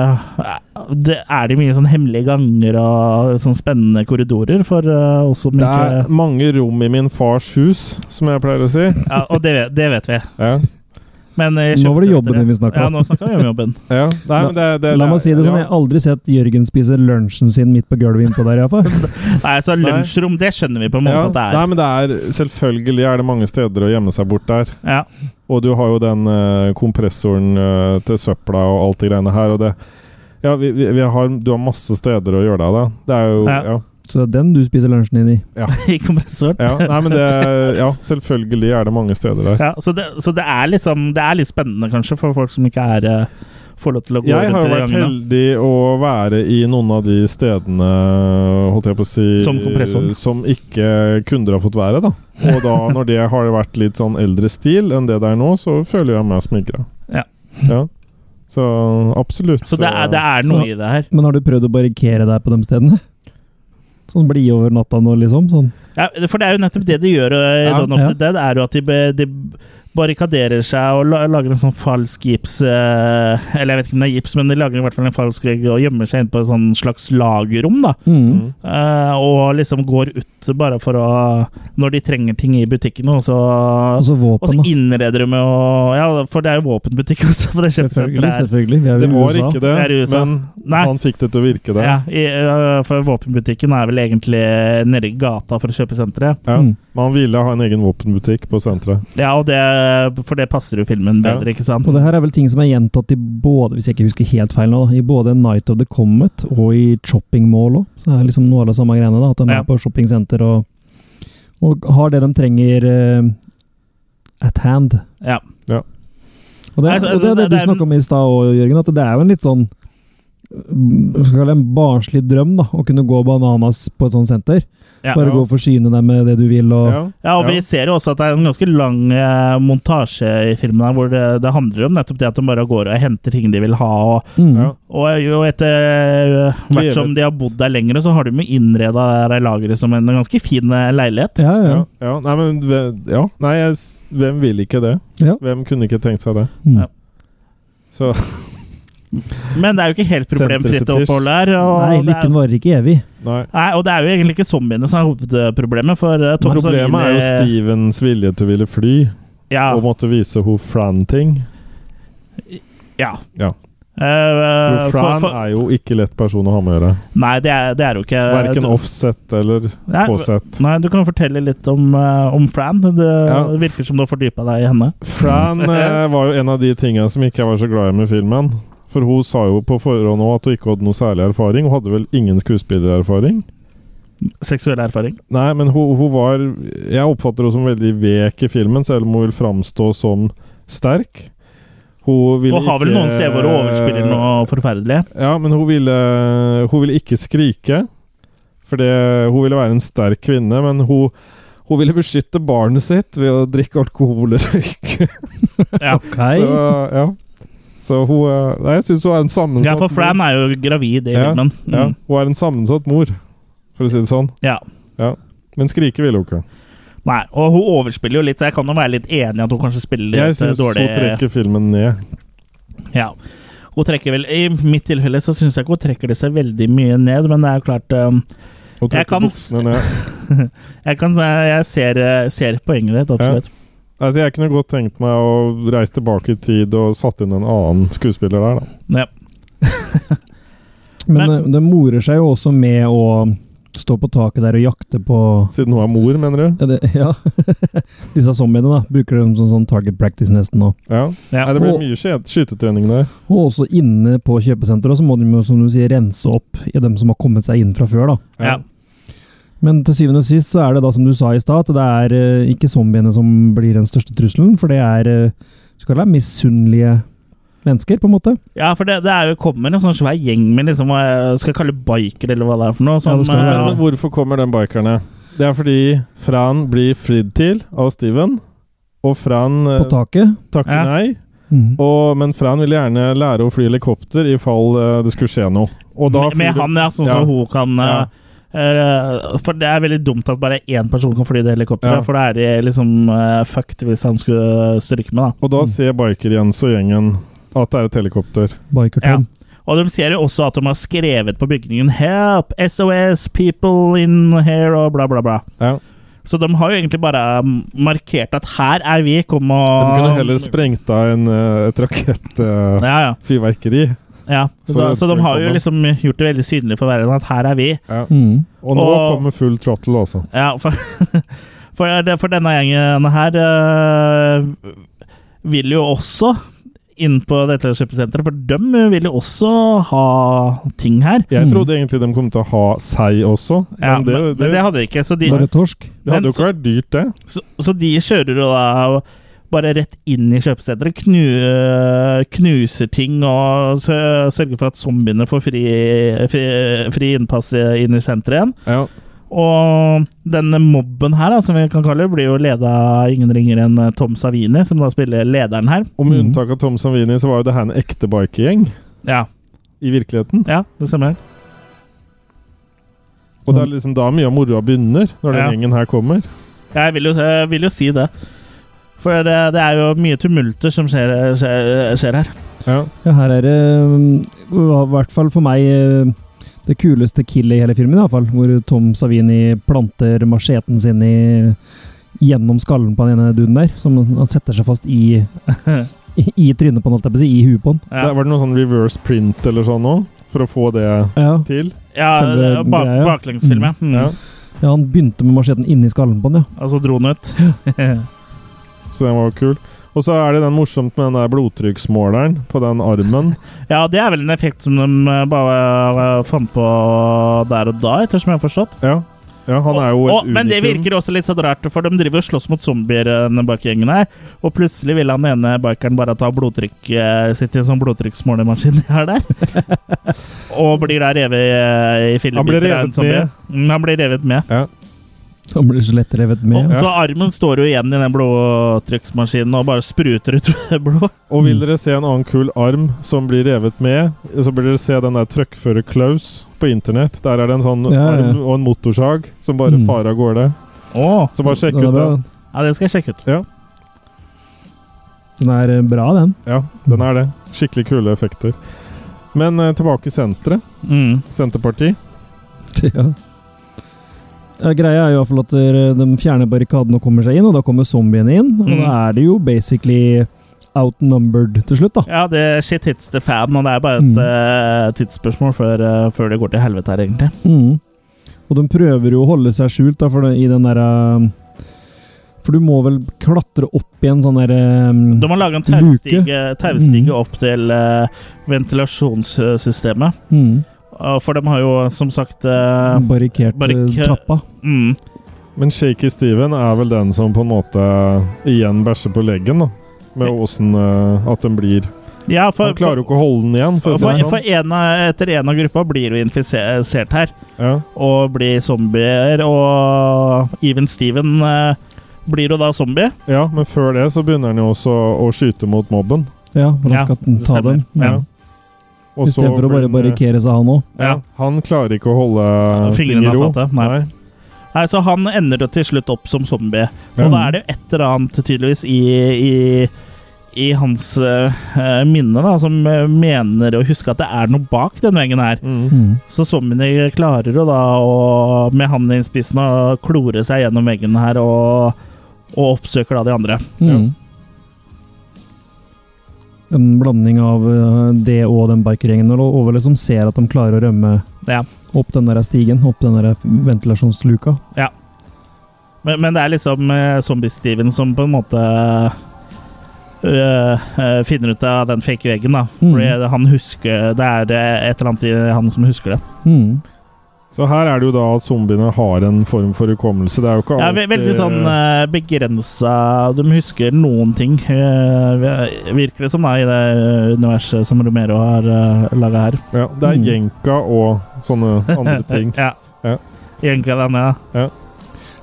A: eh, det Er det mye sånn hemmelige ganger og sånn spennende korridorer for eh, oss som
B: Det
A: ikke
B: er mange rom i min fars hus, som jeg pleier å si.
A: Ja, og det, vet- det vet vi.
B: Ja.
A: Men i
C: Nå var det
A: kjøpesenteret-
C: jobben din vi snakket om.
A: Ja, nå snakker vi om jobben.
B: Ja. Nei, men det, det,
C: La meg si det sånn, jeg
B: ja.
C: har aldri sett Jørgen spise lunsjen sin midt på gulvet innpå der, iallfall.
A: Nei, så lunsjrom, det skjønner vi på en måte
B: Ja.
A: at det
B: Nei,
A: er.
B: men det er Selvfølgelig er det mange steder å gjemme seg bort der.
A: Ja,
B: Og du har jo den eh, kompressoren eh, til søpla og alt det greiene her, og det Ja, vi, vi, vi har, du har masse steder å gjøre det av, da. Det er jo
A: Ja.
B: ja.
C: Så det er den du spiser lunsjen din i.
A: I kompressoren.
B: ja. Nei, men det Ja, selvfølgelig er det mange steder der.
A: Ja, så, det, så det er liksom Det er litt spennende, kanskje, for folk som ikke er eh, får lov til å gå
B: Jeg
A: rundt
B: har jo
A: i de
B: vært
A: gangene.
B: heldig å være i noen av de stedene holdt jeg på å si,
A: Som kompressoren.
B: som ikke kunder har fått være. da. Og da, når det har vært litt sånn eldre stil enn det det er nå, så føler jeg meg smigra.
A: Ja.
B: ja. Så absolutt.
A: Så det er, det er noe i det her.
C: Men har du prøvd å barrikere deg på de stedene? Sånn bli over natta nå, liksom? Sånn.
A: Ja, for det er jo nettopp det de gjør eh, i
B: Ja,
A: Dawn of
C: ja.
A: the Dead, er jo at de, be- de barrikaderer seg og la, lager en sånn falsk gips eh, Eller jeg vet ikke om det er gips, men de lager i hvert fall en falsk vegg og gjemmer seg inn på et sånn slags lagerrom, da.
C: Mm.
A: Eh, og liksom går ut bare for å Når de trenger ting i butikken, og så,
C: Og så
A: og så
B: Altså,
C: våpen, da.
A: innreder de med å Ja, for det er jo våpenbutikk også på det
C: Selvfølgelig,
A: kjøpesenteret her.
C: selvfølgelig. Vi er
B: Det
C: jo
B: var
C: i USA.
B: ikke det,
A: Vi er i USA.
B: men
A: Nei.
B: han fikk det til å virke der.
A: Ja, i, eh, for våpenbutikken er vel egentlig eh, nede i gata for kjøpesenteret.
B: Ja.
C: Mm.
B: Men han ville ha en egen våpenbutikk på senteret.
A: Ja, og det, for det passer jo filmen
B: Ja.
A: bedre, ikke sant?
C: Og det her er vel ting som er gjentatt i både, hvis jeg ikke husker helt feil nå, da, i både Night of the Comet og i Chopping Mall òg. Så det er liksom noe av det samme greiene, da. At de
A: Ja.
C: er på shoppingsenter og, og har det de trenger eh, at hand.
A: Ja.
C: Og det,
A: Nei, så-
C: og det er det
A: det-
C: du
A: det er-
C: snakka om i stad òg, Jørgen, at det er jo en litt sånn mm, hva skal jeg kalle det, en barnslig drøm da, å kunne gå bananas på et sånt senter.
A: Ja.
C: Bare gå og forsyne deg med det du vil. og...
B: Ja.
A: Ja, og vi
B: Ja.
A: ser jo også at det er en ganske lang eh, montasje i filmen her, hvor det, det handler om nettopp det at de bare går og henter ting de vil ha, og,
C: Mm.
B: Ja.
A: og jo etter eh, hvert
B: Levet.
A: som de har bodd der lenger, så har de jo innreda det her lageret som en ganske fin eh, leilighet.
C: Ja, ja.
B: Ja. ja. Nei, men ve- ja. Nei, jeg, s- hvem vil ikke det?
C: Ja.
B: Hvem kunne ikke tenkt seg det?
C: Mm.
A: Ja.
B: Så
A: Men det er jo ikke helt problemfritt
B: Senterfetisj.
A: opphold her. Og
C: Nei,
A: det er,
C: lykken varer ikke evig.
B: nei.
A: nei, og det er jo egentlig ikke zombiene som er hovedproblemet, for eh, Tom
B: Problemet er jo
A: Savini-
B: Stevens vilje til å ville fly
A: Ja,
B: og måtte vise henne Fran ting.
A: ja.
B: Ja.
A: Eh, for,
B: For Fran
A: for,
B: er jo ikke lett person å ha med å gjøre.
A: nei, det er, det er jo ikke
B: Verken
A: du-
B: offset eller
A: Nei,
B: påsett.
A: Nei, du kan fortelle litt om, eh, om Fran. Det
B: Ja.
A: virker som du har fordypa deg i henne.
B: Fran eh, var jo en av de tingene som ikke jeg var så glad i med filmen. For hun sa jo på forhånd òg at hun ikke hadde noe særlig erfaring. Hun hadde vel ingen skuespillererfaring?
A: Seksuell erfaring.
B: Nei, men hun, hun var Jeg oppfatter henne som veldig vek i filmen, selv om hun vil framstå som sterk. Hun vil
A: Og har vel
B: ikke-
A: noen steder hvor hun overspiller noe forferdelig.
B: Ja, men hun ville, hun ville ikke skrike. For det, hun ville være en sterk kvinne, men hun, hun ville beskytte barnet sitt ved å drikke alkohol og røyke.
C: Ok.
B: Så, eh, ja. Så hun eh, Nei, jeg syns hun er en sammensatt
A: Ja, for Fran er jo gravid i
B: Ja,
A: filmen.
B: mor. Ja,
A: Mm.
B: hun er en sammensatt mor, for å si det sånn.
A: Ja.
B: Men skrike ville hun ikke.
A: Nei, og hun overspiller jo litt, så jeg kan jo være litt enig i at hun kanskje spiller
B: Jeg
A: litt eh,
B: syns hun
A: dårlig.
B: trekker filmen ned.
A: Ja. Hun trekker vel, I mitt tilfelle så syns jeg ikke hun trekker det seg veldig mye ned, men det er jo klart um,
B: Hun
A: Jeg
B: trekker
A: kan-
B: buksene ned.
A: Jeg, kan, jeg ser, eh, ser poenget ditt, absolutt.
B: Altså, jeg kunne godt tenkt meg å reise tilbake i tid og satt inn en annen skuespiller der, da.
A: Ja.
C: Men
A: Men-
C: det, det morer seg jo også med å stå på taket der og jakte på
B: Siden hun er mor, mener du?
C: ja, det, ja. disse zombiene, da. Bruker dem som sånn target practice nesten nå.
B: Ja.
A: Ja.
B: Nei, det blir
C: Og-
B: mye skje- skytetrening der.
C: Og også inne på kjøpesenteret så må de jo, som du sier, rense opp i dem som har kommet seg inn fra før, da.
A: Ja.
C: Men til syvende og sist så er det da, som du sa i stad, at det er eh, ikke zombiene som blir den største trusselen, for det er eh, skal være misunnelige mennesker, på en måte.
A: Ja, for det, det er jo kommer en sånn svær gjeng med liksom, hva jeg skal kalle biker, eller hva det er for noe. Som,
C: det skal det
B: Ja,
A: eh,
B: men hvorfor kommer den bikerne? Det er fordi Fran blir fridd til av Steven, og Fran eh,
C: På taket.
B: takker
A: Ja.
B: nei.
C: Mm.
B: Og, men Fran vil gjerne lære å fly helikopter i fall eh, det skulle skje noe. Og da
A: med, med
B: flyr-
A: han, ja, sånn
B: Ja.
A: som hun kan eh,
B: Ja.
A: eh, For det er veldig dumt at bare én person kan fly det helikopteret,
B: Ja.
A: for da er de liksom eh, fucked hvis han skulle stryke med, da.
B: Og da ser Biker-Jens og gjengen at det er et helikopter.
A: Ja.
C: Bikerton.
A: Og de ser jo også at de har skrevet på bygningen 'Help! SOS! People in here!' og bla, bla, bla.
B: Ja.
A: Så de har jo egentlig bare mm, markert at 'her er vi, kom
B: De
A: og
B: kunne heller sprengt av en, eh, et eh, rakettfyrverkeri.
A: Ja, ja. ja.
B: For å
A: Så, så de har jo
B: komme.
A: liksom gjort det veldig synlig for verden at 'her er vi'.
C: Mm.
B: Og nå
A: Og-
B: kommer full throttle, altså.
A: Ja, for, for, eh, det- for denne gjengen her eh, vil jo også inn på dette kjøpesenteret, for de vil jo også ha ting her.
B: Jeg
C: Mm.
B: trodde egentlig de kom til å ha seg også,
A: Ja,
B: men det,
A: men,
B: det,
A: men det hadde de ikke, så de,
C: Bare torsk.
B: det
A: men
B: hadde jo ikke
A: så-
B: vært dyrt, det.
A: Så, så de kjører jo da bare rett inn i kjøpesenteret, knu, eh, knuser ting og sø- sørger for at zombiene får fri, fri, fri innpass i- inn i senteret igjen.
B: Ja.
A: Og denne mobben her, da, som vi kan kalle det, blir jo leda av ingen ringere enn eh, Tom Savini, som da spiller lederen her.
B: Og med
C: Mm.
B: unntak av Tom Sanvini, så var jo det her en ekte bikergjeng
A: Ja,
B: i virkeligheten.
A: ja det stemmer.
B: Og det er liksom da mye av moroa begynner,
A: Ja.
B: når den gjengen her kommer.
A: Jeg vil jo, jeg vil jo si det. For det, det er jo mye tumulter som skjer, skjer, skjer her.
B: Ja.
C: Ja, her er det mm, i hvert fall for meg eh, det kuleste killet i hele filmen, i hvert fall, hvor Tom Savini planter macheten sin i, gjennom skallen på den ene duden der, som han setter seg fast i i, i trynet på han, holdt jeg på å si, i huet på han.
A: Ja.
B: Der var det noe sånn reverse print eller sånn nå, for å få det
C: Ja.
B: til.
A: Ja,
C: Selve
A: bak,
C: greia.
A: baklengsfilm, ja. Mm.
B: Ja.
C: ja, han begynte med macheten inni skallen på han, ja.
A: Altså dro den ut.
B: Så den var jo kul. Og så er det den morsomt med den der blodtrykksmåleren på den armen.
A: ja, det er vel en effekt som de eh, bare eh, fant på der og da, ettersom jeg har forstått.
B: Ja, ja han er jo et
A: Og- og- men det
B: unikum.
A: virker også litt sånn rart, for de driver og slåss mot zombier, eh, denne bakgjengen her. Og plutselig vil han ene bikeren bare ta blodtrykk eh, sitt i en sånn blodtrykksmålemaskin de har der. og blir da revet eh, i fillebiter.
B: Han
A: av
B: blir
A: en
B: revet
A: zombie.
B: med.
A: Mm, han blir revet med.
C: Han blir så lett revet
A: Og,
C: med.
B: Ja.
A: Så armen står jo igjen i den blodtrykksmaskinen og bare spruter ut blod.
B: Og vil dere se en annen kul arm som blir revet med, så bør dere se den der trøkkfører Klaus på internett. Der er det en sånn
C: Ja, ja.
B: arm og en motorsag som bare
C: Mm.
B: farer av gårde.
A: Åh,
B: Så bare sjekk
C: den
B: ut
C: er
B: det.
C: bra.
A: Ja, det skal jeg sjekke ut.
C: Den er eh, bra, den.
B: Ja, den er det. Skikkelig kule effekter. Men eh, tilbake i senteret.
A: Mm.
B: Senterparti.
C: Ja. Ja, greia er jo i hvert fall at eh, de fjerner barrikadene og kommer seg inn, og da kommer zombiene inn. Og
A: Mm.
C: da er det jo basically outnumbered til slutt, da.
A: Ja, det shit hits the fan, og det er bare et
C: Mm.
A: eh, tidsspørsmål før, eh, før det går til helvete her, egentlig.
C: Mm. Og de prøver jo å holde seg skjult da, for det, i den der eh, For du må vel klatre opp i en sånn der
B: Mm.
C: ehm,
A: Du må lage en
C: Luke.
A: taustige, taustige opp til eh, ventilasjonssystemet.
C: mm,
A: Og For de har jo som sagt eh,
C: Barrikert
A: barrik-
C: eh, trappa.
A: mm,
B: Men Shaky Steven er vel den som på en måte igjen bæsjer på leggen, da. Med åssen eh, at den blir
A: Ja, for,
B: Han klarer
A: for,
B: jo ikke å holde den igjen. For, å si
A: for,
B: det
A: for
B: sånn.
A: en av, etter en av gruppa blir jo infisert her.
B: ja.
A: Og blir zombier. Og Even Steven eh, blir jo da zombie.
B: ja, men før det så begynner han jo også å skyte mot mobben.
C: Ja, for
A: Ja,
C: han skal
A: det
C: ta
A: stemmer.
C: dem.
A: Ja.
C: Mm.
B: Og så
C: Istedenfor å
B: blir
C: bare
B: han, eh,
C: barrikere seg, han òg.
B: Ja, han klarer ikke å holde ting i
A: Fingrene er
B: ro.
A: fatte, nei. Nei, Så han ender jo til slutt opp som zombie.
B: Ja.
A: Og
C: Mm.
A: da er det jo et eller annet tydeligvis i, i, i hans eh, minne da, som eh, mener å huske at det er noe bak den veggen her.
B: Mm.
C: Mm.
A: Så zombiene klarer jo da å, med handen i spissen, å klore seg gjennom veggen her og, og oppsøker da de andre.
C: Mm. En blanding av eh, det og den bikergjengen og Overle som liksom ser at de klarer å rømme
A: Ja.
C: opp den der stigen, opp den der ventilasjonsluka.
A: Men, men det er liksom eh, zombie-Steven som på en måte øh, øh, finner ut av den fake veggen, da.
C: Mm.
A: Fordi han husker Det er eh, et eller annet i han som husker det.
C: Mm.
B: Så her er det jo da at zombiene har en form for hukommelse. Det er jo ikke
A: Ja, ve veldig sånn eh, begrensa De husker noen ting, eh, virker det som, da, i det universet som Romero har uh, laga her.
B: ja, Det er
C: Mm.
B: jenka og sånne andre ting.
A: ja.
B: Ja.
A: Egentlig den, ja.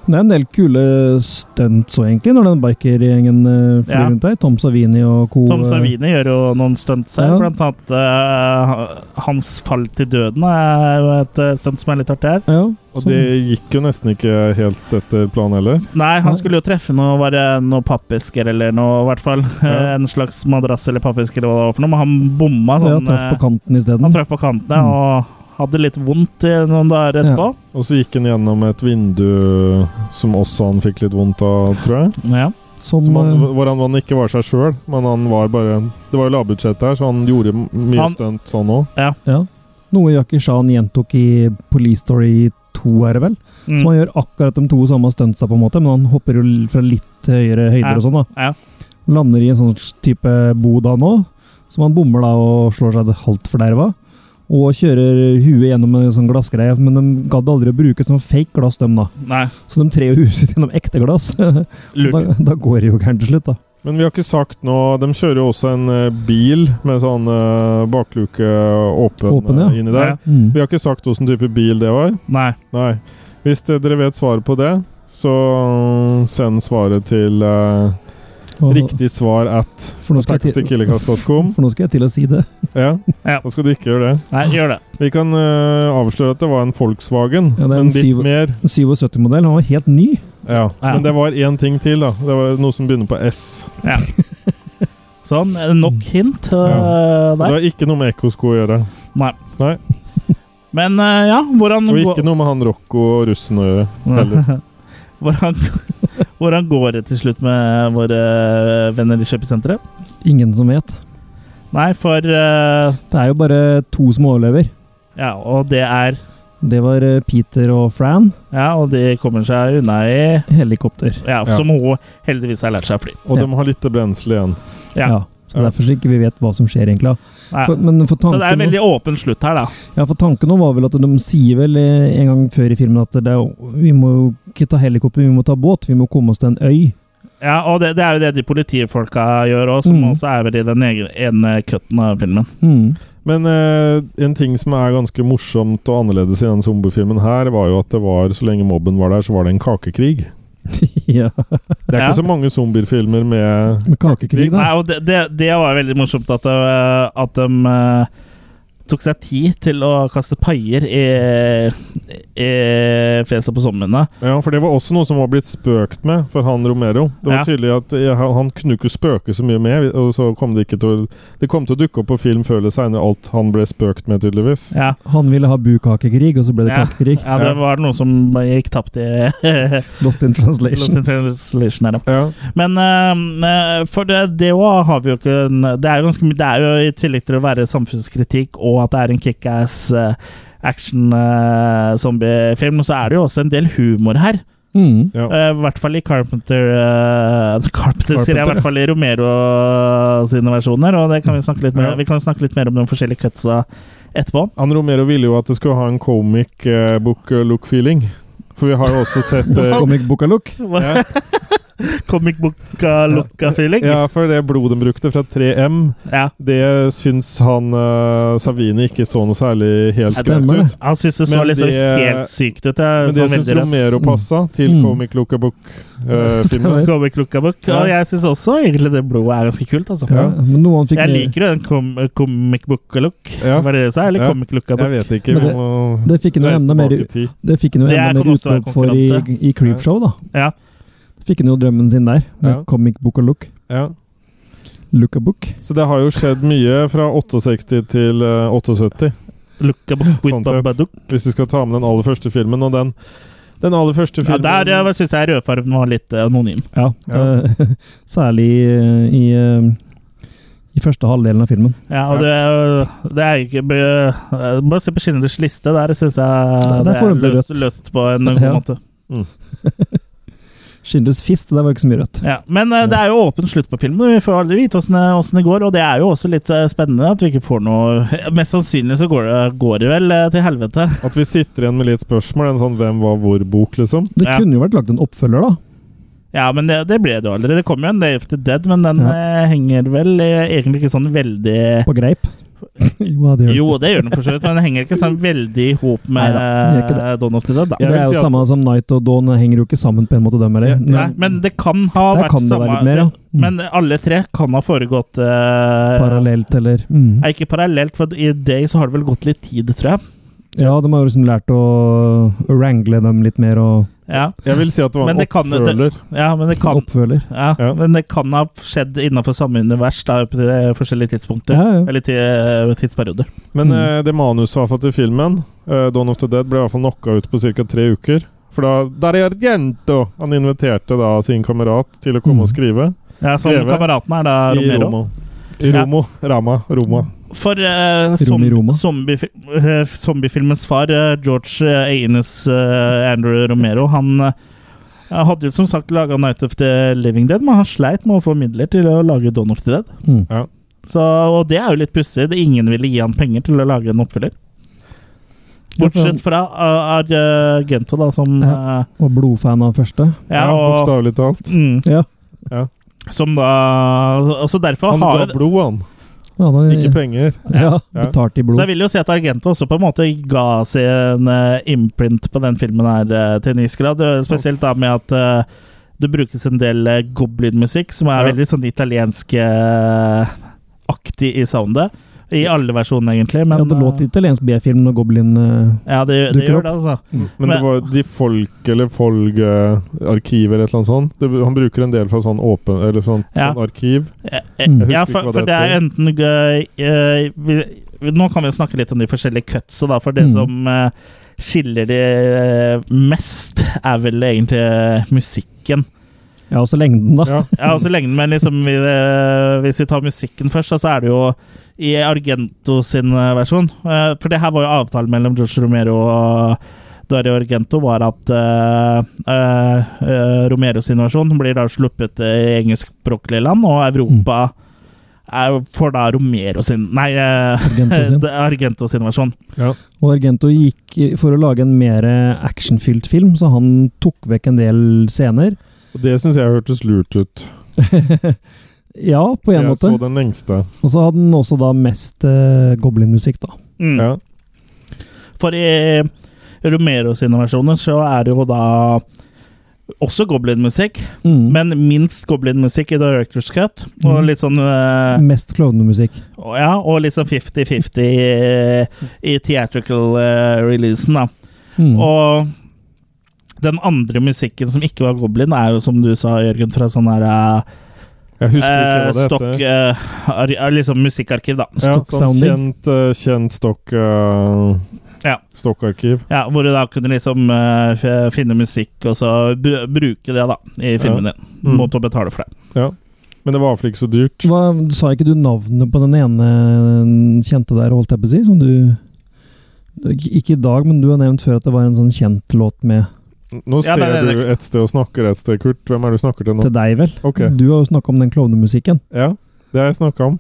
C: Det er en del kule stunts òg, egentlig, når den bikergjengen eh, flyr
A: Ja.
C: rundt der. Tom Savini og co. eh,
A: Tom Savini gjør jo noen stunts her,
C: Ja.
A: blant annet eh, hans fall til døden er jo et eh, stunt som er litt artig her.
C: Ja,
B: Og
C: som-
B: det gikk jo nesten ikke helt etter planen heller.
A: Nei, han
C: Nei.
A: skulle jo treffe noe, var det noe pappesker eller noe, i hvert fall.
B: Ja.
A: En slags madrass eller pappesker eller hva det var for noe, men han bomma
C: ja,
A: sånn.
C: traff på
A: eh,
C: kanten
A: han
C: isteden.
A: traff på kantene og hadde litt vondt i noen dager
C: Ja.
A: etterpå.
B: Og så gikk han gjennom et vindu som også han fikk litt vondt av, tror jeg.
A: Ja.
C: Som,
B: Som han,
C: eh,
B: hvor han, han ikke var seg sjøl, men han var bare Det var jo lavbudsjett her, så han gjorde m- mye
A: Han-
B: stunt sånn òg.
C: ja. Noe Jackie Chan gjentok i Police Story 2, er det vel?
A: Mm.
C: Så han gjør akkurat de to samme stuntsa, på en måte, men han hopper jo l- fra litt høyere høyder
A: Ja,
C: og sånn. da. Lander i en sånn type bod han òg, som han bommer da og slår seg halvt forderva. Og kjører huet gjennom en sånn glassgreie, men de gadd aldri å bruke sånn fake glass, dem da.
A: Nei,
C: Så de trer jo huet sitt gjennom ekte glass. da,
A: lurt.
C: da går det jo gærent til slutt, da.
B: Men vi har ikke sagt noe De kjører jo også en eh, bil med sånn eh, bakluke åpen,
C: Åpen, ja.
B: eh, inni der.
A: Ja.
C: Mm.
B: Vi har ikke sagt åssen type bil det var.
A: Nei.
B: Nei. Hvis eh, dere vet svaret på det, så eh, send svaret til eh,
C: Og-
B: riktig svar at
C: for nå skal jeg til-
B: attackofthekillercast.com.
C: For nå skal jeg til å si det.
B: Ja.
A: Ja.
B: Da skal du ikke gjøre det.
A: Nei, gjør det.
B: Vi kan eh, avsløre at det var en Volkswagen,
C: Ja, det er
B: men
C: en
B: litt
C: syv-
B: mer.
C: 77-modell, han var helt ny.
B: Ja.
A: Ja.
B: Men det var én ting til, da. Det var noe som begynner på S.
A: Sånn, er det nok hint eh,
B: Ja. Det
A: der.
B: har ikke noe med Ekkosko å gjøre.
A: Nei.
B: Nei.
A: Men eh, ja, hvordan
B: Og
A: går-
B: ikke noe med han Rocco og russen å gjøre. heller.
A: hvordan, hvordan går det til slutt med våre venner i kjøpesenteret?
C: Ingen som vet.
A: Nei, for eh,
C: Det er jo bare to som overlever.
A: Ja, og det er
C: Det var eh, Peter og Fran.
A: Ja, og de kommer seg unna i
C: Helikopter.
A: Ja,
B: Ja.
A: som hun heldigvis har lært seg å fly.
B: Og
C: Ja.
B: de har litt brensel igjen.
A: Ja.
C: Ja. så
B: Ja.
C: Derfor så ikke vi vet hva som skjer, egentlig. da.
A: Nei.
C: For, men for
A: Så det er en
C: tanken,
A: veldig åpen slutt her, da.
C: ja, for tanken nå var vel at de sier vel eh, en gang før i filmen at det er, jo- vi må jo ikke ta helikopter, vi må ta båt. Vi må komme oss til en øy.
A: Ja, Og det, det er jo det de politifolka gjør òg, som
C: Mm.
A: også er vel i den egen- ene cutten av filmen.
C: Mm.
B: Men eh, en ting som er ganske morsomt og annerledes i den zombiefilmen her, var jo at det var, så lenge mobben var der, så var det en kakekrig.
C: ja.
B: Det er
A: Ja.
B: ikke så mange zombiefilmer med
C: Med kakekrig,
A: Nei,
C: da.
A: og det, det, det var veldig morsomt at, øh, at de øh, tok seg tid til å kaste paier i, i fjeset på zombiene.
B: Ja, for det var også noe som var blitt spøkt med for han Romero. Det var
A: Ja.
B: tydelig at eh, han han kunne ikke spøke så mye med, og så kom det ikke til å Det kom til å dukke opp på film før eller seinere alt han ble spøkt med, tydeligvis.
A: Ja.
C: Han ville ha bukakekrig, og så ble det
A: Ja.
C: kakekrig.
A: ja, det
B: Ja.
A: var noe som gikk tapt i
C: Lost in
A: Lost
C: translation.
A: in Translation. Her, ja.
B: Ja.
A: Men eh, for det, det også har vi jo ikke en- Det er jo ganske mye Det er jo i tillegg til å være samfunnskritikk og at det er en eh, kickass eh, action-zombiefilm, så er det jo også en del humor her.
C: Mm.
B: Ja.
A: Eh, I hvert fall i Carpenter eh, Carpenter, sier jeg, i
B: Carpenter,
A: hvert fall i Romero sine versjoner. Og det kan vi, snakke litt mer,
B: Ja.
A: vi kan snakke litt mer om de forskjellige cutsa etterpå.
B: Ann Romero ville jo at det skulle ha en comic eh, book look feeling. For vi har jo også sett eh,
C: Comic book a look.
B: ja,
A: Comic book-a looka-feeling.
B: ja, for det blodet de brukte fra 3M,
A: Ja.
B: det syns han eh, Savini ikke så noe særlig helt greit
C: Stemmer det.
B: ut.
A: Han syntes det så
B: Men
A: liksom
B: det-
A: helt sykt ut. Ja,
B: Men det
A: sånn
B: syns
A: veldig rett.
B: Romero passa til
C: Mm.
B: comic look eh, book-filmen.
C: Stemmer.
A: sånn Comic Lookabok. Og jeg syns også egentlig det blodet er ganske kult, altså.
C: Ja, men noen fikk
A: Jeg liker jo den com comic book look.
B: Ja.
A: Var det det du sa? Eller
B: Ja.
A: comic look
B: jeg vet ikke.
C: Men
B: Vi
C: det-
B: må
C: det fikk han jo
B: reise
C: enda mer
B: tilbake
C: ut-
B: i tid.
C: Det fikk han jo
A: Det
C: enda
A: kan
C: mer
A: også være
C: utlopp for i,
A: konkurranse.
C: i Creepshow, da.
A: Ja.
C: Fikk han jo drømmen sin der, med
B: Ja.
C: comic book a look.
B: Ja.
C: Look a book.
B: Så det har jo skjedd mye fra 68 til eh, 78.
A: Lookabok with
B: Sånn sett.
A: Babadook.
B: Hvis vi skal ta med den aller første filmen, og den Den aller første
A: Ja,
B: filmen
A: der ja, syns jeg rødfargen var litt eh, anonym.
C: Ja.
B: Ja.
C: eh, særlig eh, i, eh, i første halvdelen av filmen.
A: Ja, og
B: Ja.
A: det er, jo- det er jo ikke be- Bare se på Schindlers liste. Der syns jeg
C: er
A: det er
C: forhåpentlig
A: løst,
C: rødt.
A: løst på en god
C: Ja.
A: måte.
C: Schindlers fist, det der var jo ikke så mye rødt.
A: Ja, men eh, det er jo åpen slutt på filmen. Vi får aldri vite åssen det, åssen det går. Og det er jo også litt eh, spennende at vi ikke får noe Mest sannsynlig så går det, går det vel eh, til helvete.
B: At vi sitter igjen med litt spørsmål. En sånn 'Hvem var hvor?'-bok, liksom.
C: Det
A: Ja.
C: kunne jo vært lagd en oppfølger, da.
A: Ja, men det, det ble det jo aldri. Det kom jo en Day of the Dead, men den eh, henger vel eh, egentlig ikke sånn veldig
C: På greip. jo, ja, det gjør det.
A: Jo, det gjør den for så vidt, men den henger ikke sånn veldig i hop med
C: Neida, den gjør ikke
A: eh, Dawn of the Dead, da.
B: Jeg
C: det
B: vil
C: er jo
B: si at-
C: samme som Night og Dawn det henger jo ikke sammen på en måte, dem heller.
B: Ja,
A: Nei, men det kan ha
C: Der
A: vært
C: kan det
A: samme
C: være litt mer, ja.
A: det- Men alle tre kan ha foregått eh,
C: Mm. Parallelt, eller mm.
A: Nei, ikke parallelt, for i Day så har det vel gått litt tid, tror jeg.
C: Ja, de har jo liksom lært å å wrangle dem litt mer og
A: Ja,
B: Jeg vil si at det var
A: Men
B: en
A: det kan- det-
B: oppfølger.
A: ja men det kan
C: oppfølger.
A: ja,
B: Ja.
A: Men det kan ha skjedd innenfor samme univers da, på de forskjellige tidspunkter.
C: Ja, ja.
A: Eller ti- eh, tidsperioder.
B: Men
C: Mm.
B: eh, det manuset var for til filmen, eh, Dawn of the Dead, ble i hvert fall knocka ut på ca. tre uker. For da Der er jenta! Han inviterte da sin kamerat til å komme
C: Mm.
B: og skrive.
A: Ja, som
B: Skrevet
A: kameraten er da
B: I
A: Romero.
B: Romo. I
A: Ja.
B: Romo. Rama. Roma.
A: For eh, som,
C: Rom i Roma.
A: zombiefil- eh, zombiefilmens far, eh, George eh, Aines eh, Andrew Romero, han eh, hadde jo som sagt laga 'Night of the Living Dead', men han sleit med å få midler til å lage 'Dawn of the Dead'.
C: Mm.
A: Så, og det er jo litt pussig. det- Ingen ville gi han penger til å lage en oppfølger. Bortsett fra eh, Argento, da, som
C: Ja.
A: eh,
C: Og blodfan av første.
A: Ja, og
B: Bokstavelig talt.
A: mm,
C: Ja.
A: Som da Så derfor
B: Han
A: har
B: ga blod, han.
C: ja da,
B: Ikke penger.
C: ja,
B: Ja.
C: betalt i
A: Så jeg
C: blod.
A: vil jo si at Argento også på en måte ga seg en eh, imprint på den filmen her eh, til en viss grad. eh, Spesielt da med at eh, det brukes en del eh, goblinmusikk, som er
B: Ja.
A: veldig sånn italiensk-aktig i soundet. I alle versjonene, egentlig. Men
C: ja, det låt
A: eh,
C: italiensk B-film når Goblin eh,
A: ja, det, det gjør
C: dukker
A: det, altså.
B: Men,
A: Men-
B: det var jo De Folk eller Folg-arkivet eller et eller annet sånt. Det, han bruker en del fra sånn åpen Eller sånn,
A: Ja.
B: sånn arkiv.
A: Eh,
C: Mm.
A: eh,
B: Jeg
A: Ja,
B: husker ikke
A: for,
B: hva
A: for
B: det
A: det er
B: heter.
A: enten gøy eh, vi, vi, Nå kan vi jo snakke litt om de forskjellige cutsa, da, for det
C: Mm.
A: som eh, skiller de eh, mest, er vel egentlig eh, musikken.
C: Ja, også lengden, da.
B: Ja.
A: Ja, også lengden, men liksom vi, eh, hvis vi tar musikken først, da, så er det jo i Argento sin eh, versjon. Eh, For det her var jo avtalen mellom George Romero og Dario Argento var at eh, eh, eh, Romero sin versjon blir da sluppet i engelskspråklige land, og Europa
C: Mm.
A: er, får da Romero sin Nei, eh,
C: Argento sin.
A: det er Argento sin versjon.
C: Og Argento gikk eh, for å lage en mer eh, actionfylt film, så han tok vekk en del scener.
B: Og det syns jeg hørtes lurt ut.
C: ja, på en
B: jeg
C: måte.
B: så den lengste.
C: Og så hadde han også da mest eh, Goblin-musikk, da.
A: Mm.
B: Ja.
A: For i Romero sine versjoner så er det jo da også goblinmusikk,
C: Mm.
A: men minst goblinmusikk i Directors Cut. Og
C: Mm.
A: litt sånn eh,
C: mest klovnemusikk.
A: og- Ja, og litt sånn 50-50 i, i theatrical-releasen, da.
C: Mm.
A: Og den andre musikken som ikke var goblin, er jo som du sa, Jørgen, fra sånn her eh,
B: Jeg husker ikke hva det
A: stokk...
B: heter.
A: eh, ar- eh, liksom musikkarkiv, da.
B: Ja, sånn
C: Sounding.
B: kjent, eh, kjent stokk eh,
A: Ja.
B: stokkarkiv.
A: Ja, hvor du da kunne liksom eh, f- finne musikk og så br bruke det da i filmen din.
B: Mm.
A: Mot å betale for det.
B: Men det var iallfall ikke så dyrt.
C: Hva, sa ikke du navnet på den ene eh, kjente der, holdt jeg på å si? Som du Ikke i dag, men du har nevnt før at det var en sånn kjent låt med
B: Nå
A: Ja,
B: ser
A: nei, nei,
B: du
A: det-
B: et sted og snakker et sted, Kurt. Hvem er det du snakker til nå?
C: Til Mm. deg, vel?
B: Ok.
C: Du har jo snakka om den klovnemusikken.
B: Ja, det har jeg snakka om.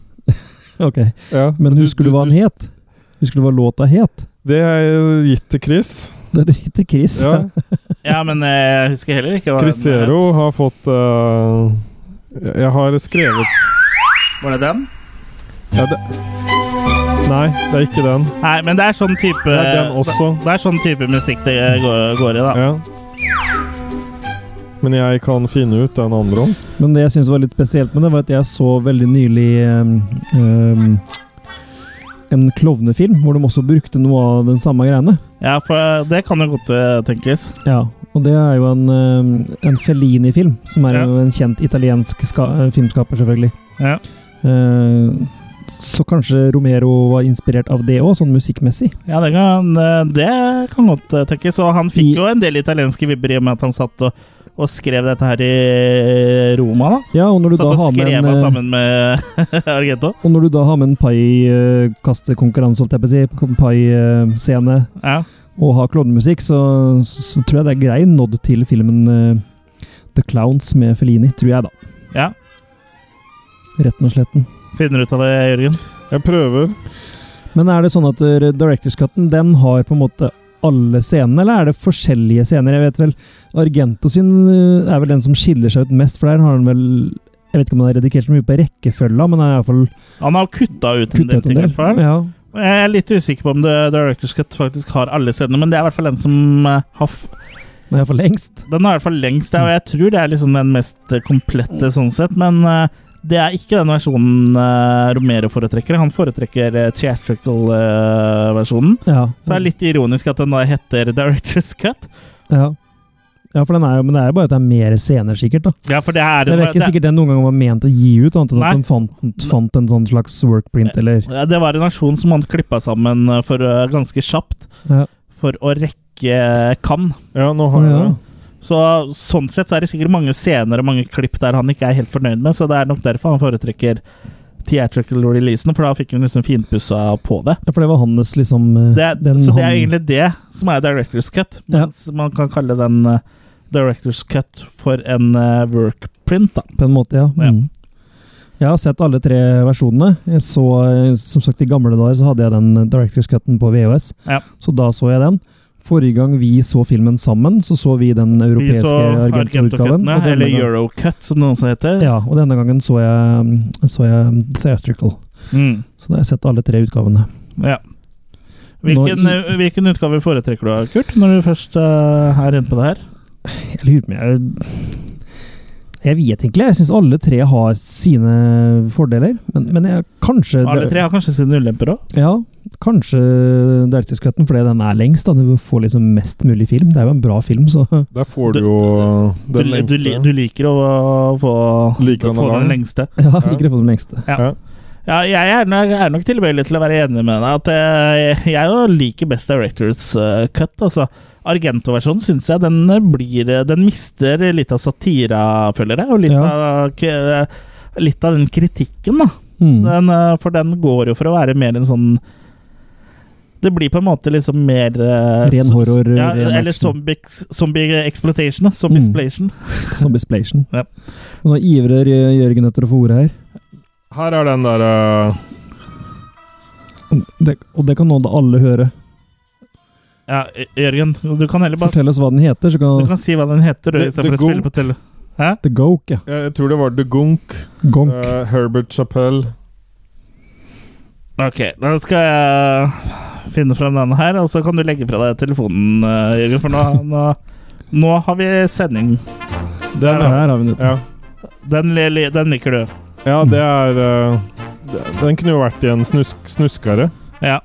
C: Ok,
B: Ja.
C: Men husker du hva den het? Husker du hva låta het?
B: Det har jeg gitt til Chris.
C: Det er ikke til Chris.
B: Ja.
A: Ja, men eh, jeg husker heller ikke hva den-
B: Crisero har fått eh, Jeg har skrevet
A: eh, Var det den?
B: ja, det, Nei, det er ikke den.
A: Nei, men det er sånn type
B: Det er den også.
A: Det er sånn type musikk det går, går i, da.
B: Ja. Men jeg kan finne ut den andre om.
C: Men det jeg syns var litt spesielt med det, var at jeg så veldig nylig um, um, en klovnefilm hvor de også brukte noe av den samme greiene.
A: Ja, for det kan jo godt eh, tenkes.
C: Ja, og det er jo en, um, en Fellini-film, som er
A: Ja.
C: jo en kjent italiensk ska eh, filmskaper, selvfølgelig.
A: Ja.
C: Eh, så kanskje Romero var inspirert av det òg, sånn musikkmessig.
A: Ja, det kan, eh, det kan godt eh, tenkes. Og han fikk jo en del italienske vibber i og med at han satt og, og skrev dette her i Roma, da.
C: Ja, og når du
A: Satt
C: da
A: og
C: har med
A: skrev
C: en,
A: av
C: eh,
A: sammen med Argento.
C: og når du da har med en pai-kastekonkurranse, holdt jeg på å si, eh, pai-scene
A: Ja.
C: og har klovnemusikk, så, så, så tror jeg det er grei nådd til filmen eh, The Clowns med Fellini, tror jeg, da.
A: ja.
C: Retten og sletten.
A: Finner du ut av det, Jørgen?
B: Jeg prøver.
C: Men er det sånn at eh, Directors Cutten den har på en måte alle scenene, eller er det forskjellige scener? Jeg vet vel, Argento sin eh, er vel den som skiller seg ut mest, for der har han vel Jeg vet ikke om han har redigert så mye på rekkefølga, men han har iallfall
A: Han har kutta ut en
C: kutta
A: del
C: ut en
A: ting. i
C: del.
A: hvert fall.
C: Ja.
A: Jeg er litt usikker på om The Director's Cut faktisk har alle scenene, men det er i hvert fall den som eh, har f
C: Den er iallfall lengst.
A: Den er i hvert fall lengst der, og jeg tror det er liksom den mest eh, komplette sånn sett, men eh, det er ikke den versjonen eh, Romero foretrekker. Han foretrekker eh, theatrical-versjonen.
C: Ja.
A: Så det er litt ironisk at den da heter Director's Cut.
C: ja. ja, for den er jo Men det er jo bare at det er mer scener, sikkert, da.
A: Ja, for det er
C: Det er ikke
A: det,
C: sikkert den noen gang var ment å gi ut, annet enn
A: Nei.
C: at de fant, fant en sånn slags workprint, eller
A: ja, det var en versjon som han klippa sammen eh, for eh, ganske kjapt
C: ja.
A: for å rekke eh, Cannes.
B: Ja, nå
C: Å,
B: har jeg
C: ja.
B: det.
A: Så sånn sett så er det sikkert mange scener og mange klipp der han ikke er helt fornøyd med, så det er nok derfor han foretrekker theatrical-releasen, for da fikk han liksom finpussa på det.
C: ja, for det var hans liksom eh,
A: det, er-
C: den
A: så det er
C: han-
A: egentlig det som er Directors Cut. Mens man kan kalle den eh, Directors Cut for en eh, workprint, da.
C: På en måte, ja.
A: Ja.
C: Mm. Jeg har sett alle tre versjonene. Jeg så, eh, som sagt, I gamle dager så hadde jeg den eh, Directors Cutten på VHS,
A: Ja.
C: så da så jeg den. Forrige gang vi så filmen sammen, så så vi den
A: Vi
C: europeiske
A: så
C: Argento-utgaven.
A: Argento-cuttene,
C: og denne
A: eller
C: gang-
A: Eurocut, som det også heter.
C: Ja, og denne gangen så jeg, så jeg Theatrical.
A: Mm,
C: Så da har jeg sett alle tre utgavene.
A: ja. Hvilken,
C: Nå
A: eh, hvilken utgave foretrekker du, Kurt, når du først eh, er inne på det her?
C: Jeg lurer på om jeg Jeg vet egentlig. Jeg syns alle tre har sine fordeler, men, men jeg, kanskje
A: Alle tre har kanskje sine ulemper òg?
C: Ja, kanskje Directors Cutten, fordi den er lengst. da. Du får liksom mest mulig film. Det er jo en bra film, så
B: Der får
A: Du-
B: du jo eh,
A: Du,
B: den
A: du, li-
B: lengste.
A: du liker å få,
B: Liker han
A: få
B: å ha
A: den
B: den?
A: lengste?
C: ja, jeg liker å få den lengste.
A: Ja. Ja, jeg er, nok- er nok tilbøyelig til å være enig med deg. At eh, jeg jo liker best Directors eh, Cut. altså. Argento-versjonen syns jeg den eh, blir eh, Den mister litt av satira, føler jeg. Og litt,
C: Ja.
A: av, k- eh, litt av den kritikken, da.
C: Mm.
A: Den, eh, for den går jo for å være mer en sånn Det blir på en måte liksom mer eh,
C: Ren
A: s-
C: horror,
A: Ja,
C: ren
A: eller
C: action.
A: zombie, zombie exploitation. da. Zombie
C: Mm.
A: splation.
C: Zombiesplation.
A: Ja.
C: Og nå ivrer eh, Jørgen etter å få ordet her.
B: Her er den der eh,
C: Mm, Det, og det kan nå da alle høre.
A: Ja, Jørgen, du kan heller bare
C: Fortell oss hva den heter, så
A: Du
C: kan
A: kan si hva den heter, du,
B: The-
A: istedenfor
B: The
A: å spille
B: Gunk.
A: på tele. Hæ?
C: The Goke, ja.
B: jeg, jeg tror det var The Gunk.
C: Gonk.
A: Øh,
B: eh, Herbert Chapell.
A: Ok, da skal jeg finne frem denne her, og så kan du legge fra deg telefonen, eh, Jørgen, for nå, nå, nå har vi sending.
B: Den,
C: Der
B: ja.
C: har vi den. ute.
B: ja.
A: Den, li- li- den liker du.
B: Ja, det er eh, det- Den kunne jo vært i en snusk, snuskere.
A: Ja.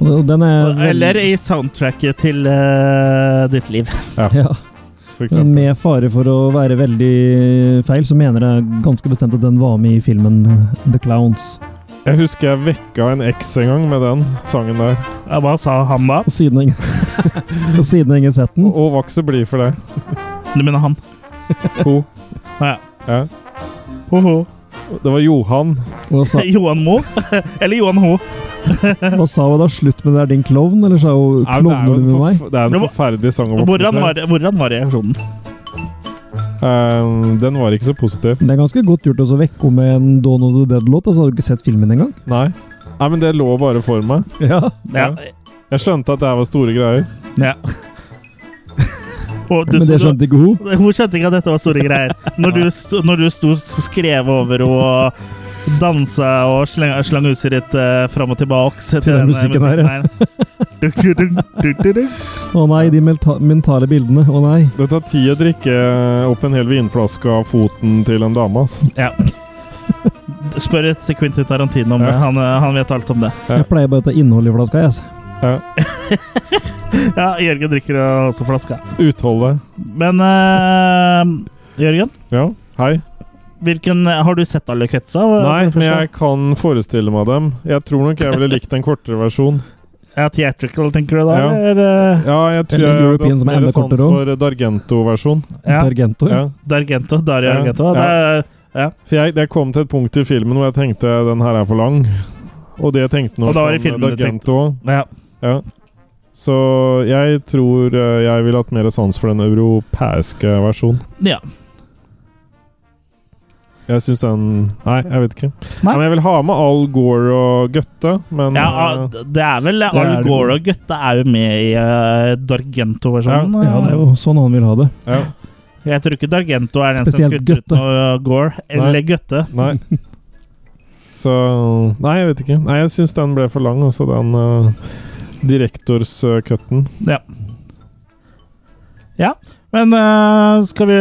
C: Og den er
A: Eller i soundtracket til eh, ditt liv.
C: ja.
A: Mm,
B: For
C: Men
B: eksempel.
C: med fare for å være veldig feil, så mener jeg ganske bestemt at den var med i filmen The Clowns.
B: Jeg husker jeg vekka en eks en gang med den sangen der.
A: Ja, Hva sa han da?
C: Og siden ingen, og siden ingen sett den.
B: Og var ikke så blid for det.
A: Du mener han?
B: Ho.
A: Ja.
B: Ja.
A: Ho, ho.
B: Det var Johan.
C: Og sa,
A: Johan Mo? Eller Johan Ho?
C: Hva sa hun da? Slutt med det der, din klovn? Eller sa hun
B: Ja, men det er jo
C: klovner du
B: en
C: med meg?
B: forf- Det er en
A: Men hvor-
B: forferdelig sang. å våkne
A: Hvordan
B: til.
A: var, hvordan var reaksjonen?
B: Eh, den var ikke så positiv.
C: Det er ganske godt gjort å vekke henne med en Dawn of the Dead-låt, og så har du ikke sett filmen engang.
B: Nei. Nei, men det lå bare for meg.
C: Ja.
A: Ja.
B: Jeg skjønte at det her var store greier.
A: ja. Og du,
C: Men det skjønte ikke hun.
A: Hun skjønte ikke at dette var store greier. Når du, st- når du sto og skrev over og dansa og slang, slang huset ditt uh, fram og tilbake til,
C: den
A: denne
C: musikken her, ja.
A: her.
C: Å nei, de melta- mentale bildene. Å nei.
B: Det tar tid å drikke opp en hel vinflaske av foten til en dame. Altså.
A: Ja. Spør et Quentin Tarantino om
B: Ja.
A: det. Han, eh, han vet alt om det.
B: Ja.
C: Jeg pleier bare å ta innhold i flaska, jeg. Altså.
A: Ja, Jørgen drikker eh, også flaska.
B: Utholdet.
A: Men eh, Jørgen,
B: Ja. Hei.
A: hvilken, har du sett alle cutsa?
B: Nei, men jeg kan forestille meg dem. Jeg tror nok jeg ville likt en kortere versjon.
A: Ja, Theatrical, tenker du da?
B: Ja.
A: Eller, eh,
B: Ja, jeg tror
C: Eller
B: jeg
C: European
B: hadde
C: som er
B: hatt
C: enda
B: mer sans
C: kortere også.
B: for Dargento-versjon.
A: Ja.
C: Argento.
B: Ja.
A: D'Argento? Dario
B: Ja.
A: Argento? Det er,
B: For jeg, jeg kom til et punkt i filmen hvor jeg tenkte den her er for lang. Og det tenkte nok
A: Og da var det
B: han, eh,
A: filmen du
B: Dargento òg.
A: ja.
B: Ja. Så jeg tror eh, jeg ville hatt mer sans for den europeiske versjonen.
A: Ja.
B: Jeg syns den Nei, jeg vet ikke.
A: Nei.
B: Men jeg vil ha med Al Gore og Gøtte, men
A: ja,
B: eh,
A: ah, det er vel
C: det
A: Al
C: jo.
A: Gore og Gøtte er jo med i uh, Dargento-versjonen. eh.
C: Ja, det er jo sånn han vil ha det.
B: ja,
A: Jeg tror ikke Dargento er den
C: Spesielt
A: som kutter
C: Gøtte.
A: ut noe Gore eller Gøtte.
B: Nei. Så Nei, jeg vet ikke. Nei, jeg syns den ble for lang, altså, den eh, uh, direktorscutten.
A: Ja. ja. Men eh, skal vi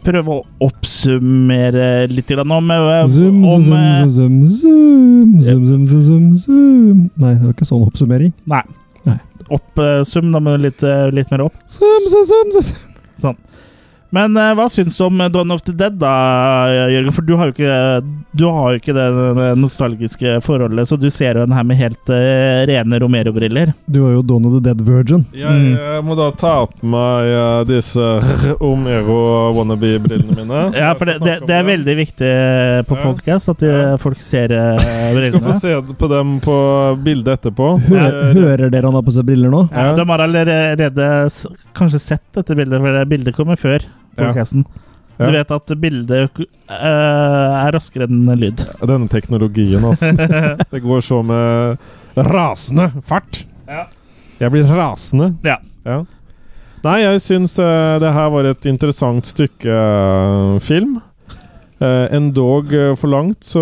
A: prøve å oppsummere litt grann om, eh,
C: Zoom,
A: om
C: zoom,
A: eh,
C: zoom, zoom, zoom, zoom, zoom, zoom, zoom, zoom. Nei, det var ikke sånn oppsummering.
A: Nei.
C: Nei.
A: eh, Oppsum, da må du litt, eh, litt mer opp.
C: Zoom, zoom, zoom, zoom.
A: Sånn. Men eh, hva syns du om Dawn of the Dead, da, Jørgen? For du har jo ikke, du har jo ikke det, det nostalgiske forholdet, så du ser jo den her med helt eh, rene Romero-briller.
C: Du var jo Dawn of the Dead Virgin.
B: Jeg eh, må da ta opp meg eh, disse Omero-wannabe-brillene mine.
A: Ja, for det, det, det er veldig viktig på
B: Ja.
A: podkast at eh,
B: Ja.
A: folk ser eh,
B: Du skal få
A: brillene.
B: se på dem på bildet etterpå.
C: Hører,
B: Eh,
C: hører dere han har på seg briller nå?
A: Ja,
B: Ja.
A: De har allerede s- kanskje sett dette bildet, for det bildet kommer før
B: Ja.
A: podkasten.
B: Ja.
A: Du vet at bildet eh, er raskere enn lyd.
B: Denne teknologien, altså. Det går så med rasende fart.
A: Ja.
B: Jeg blir rasende.
A: Ja.
B: Nei, jeg syns eh, det her var et interessant stykke eh, film. Uh, Endog eh, for langt, så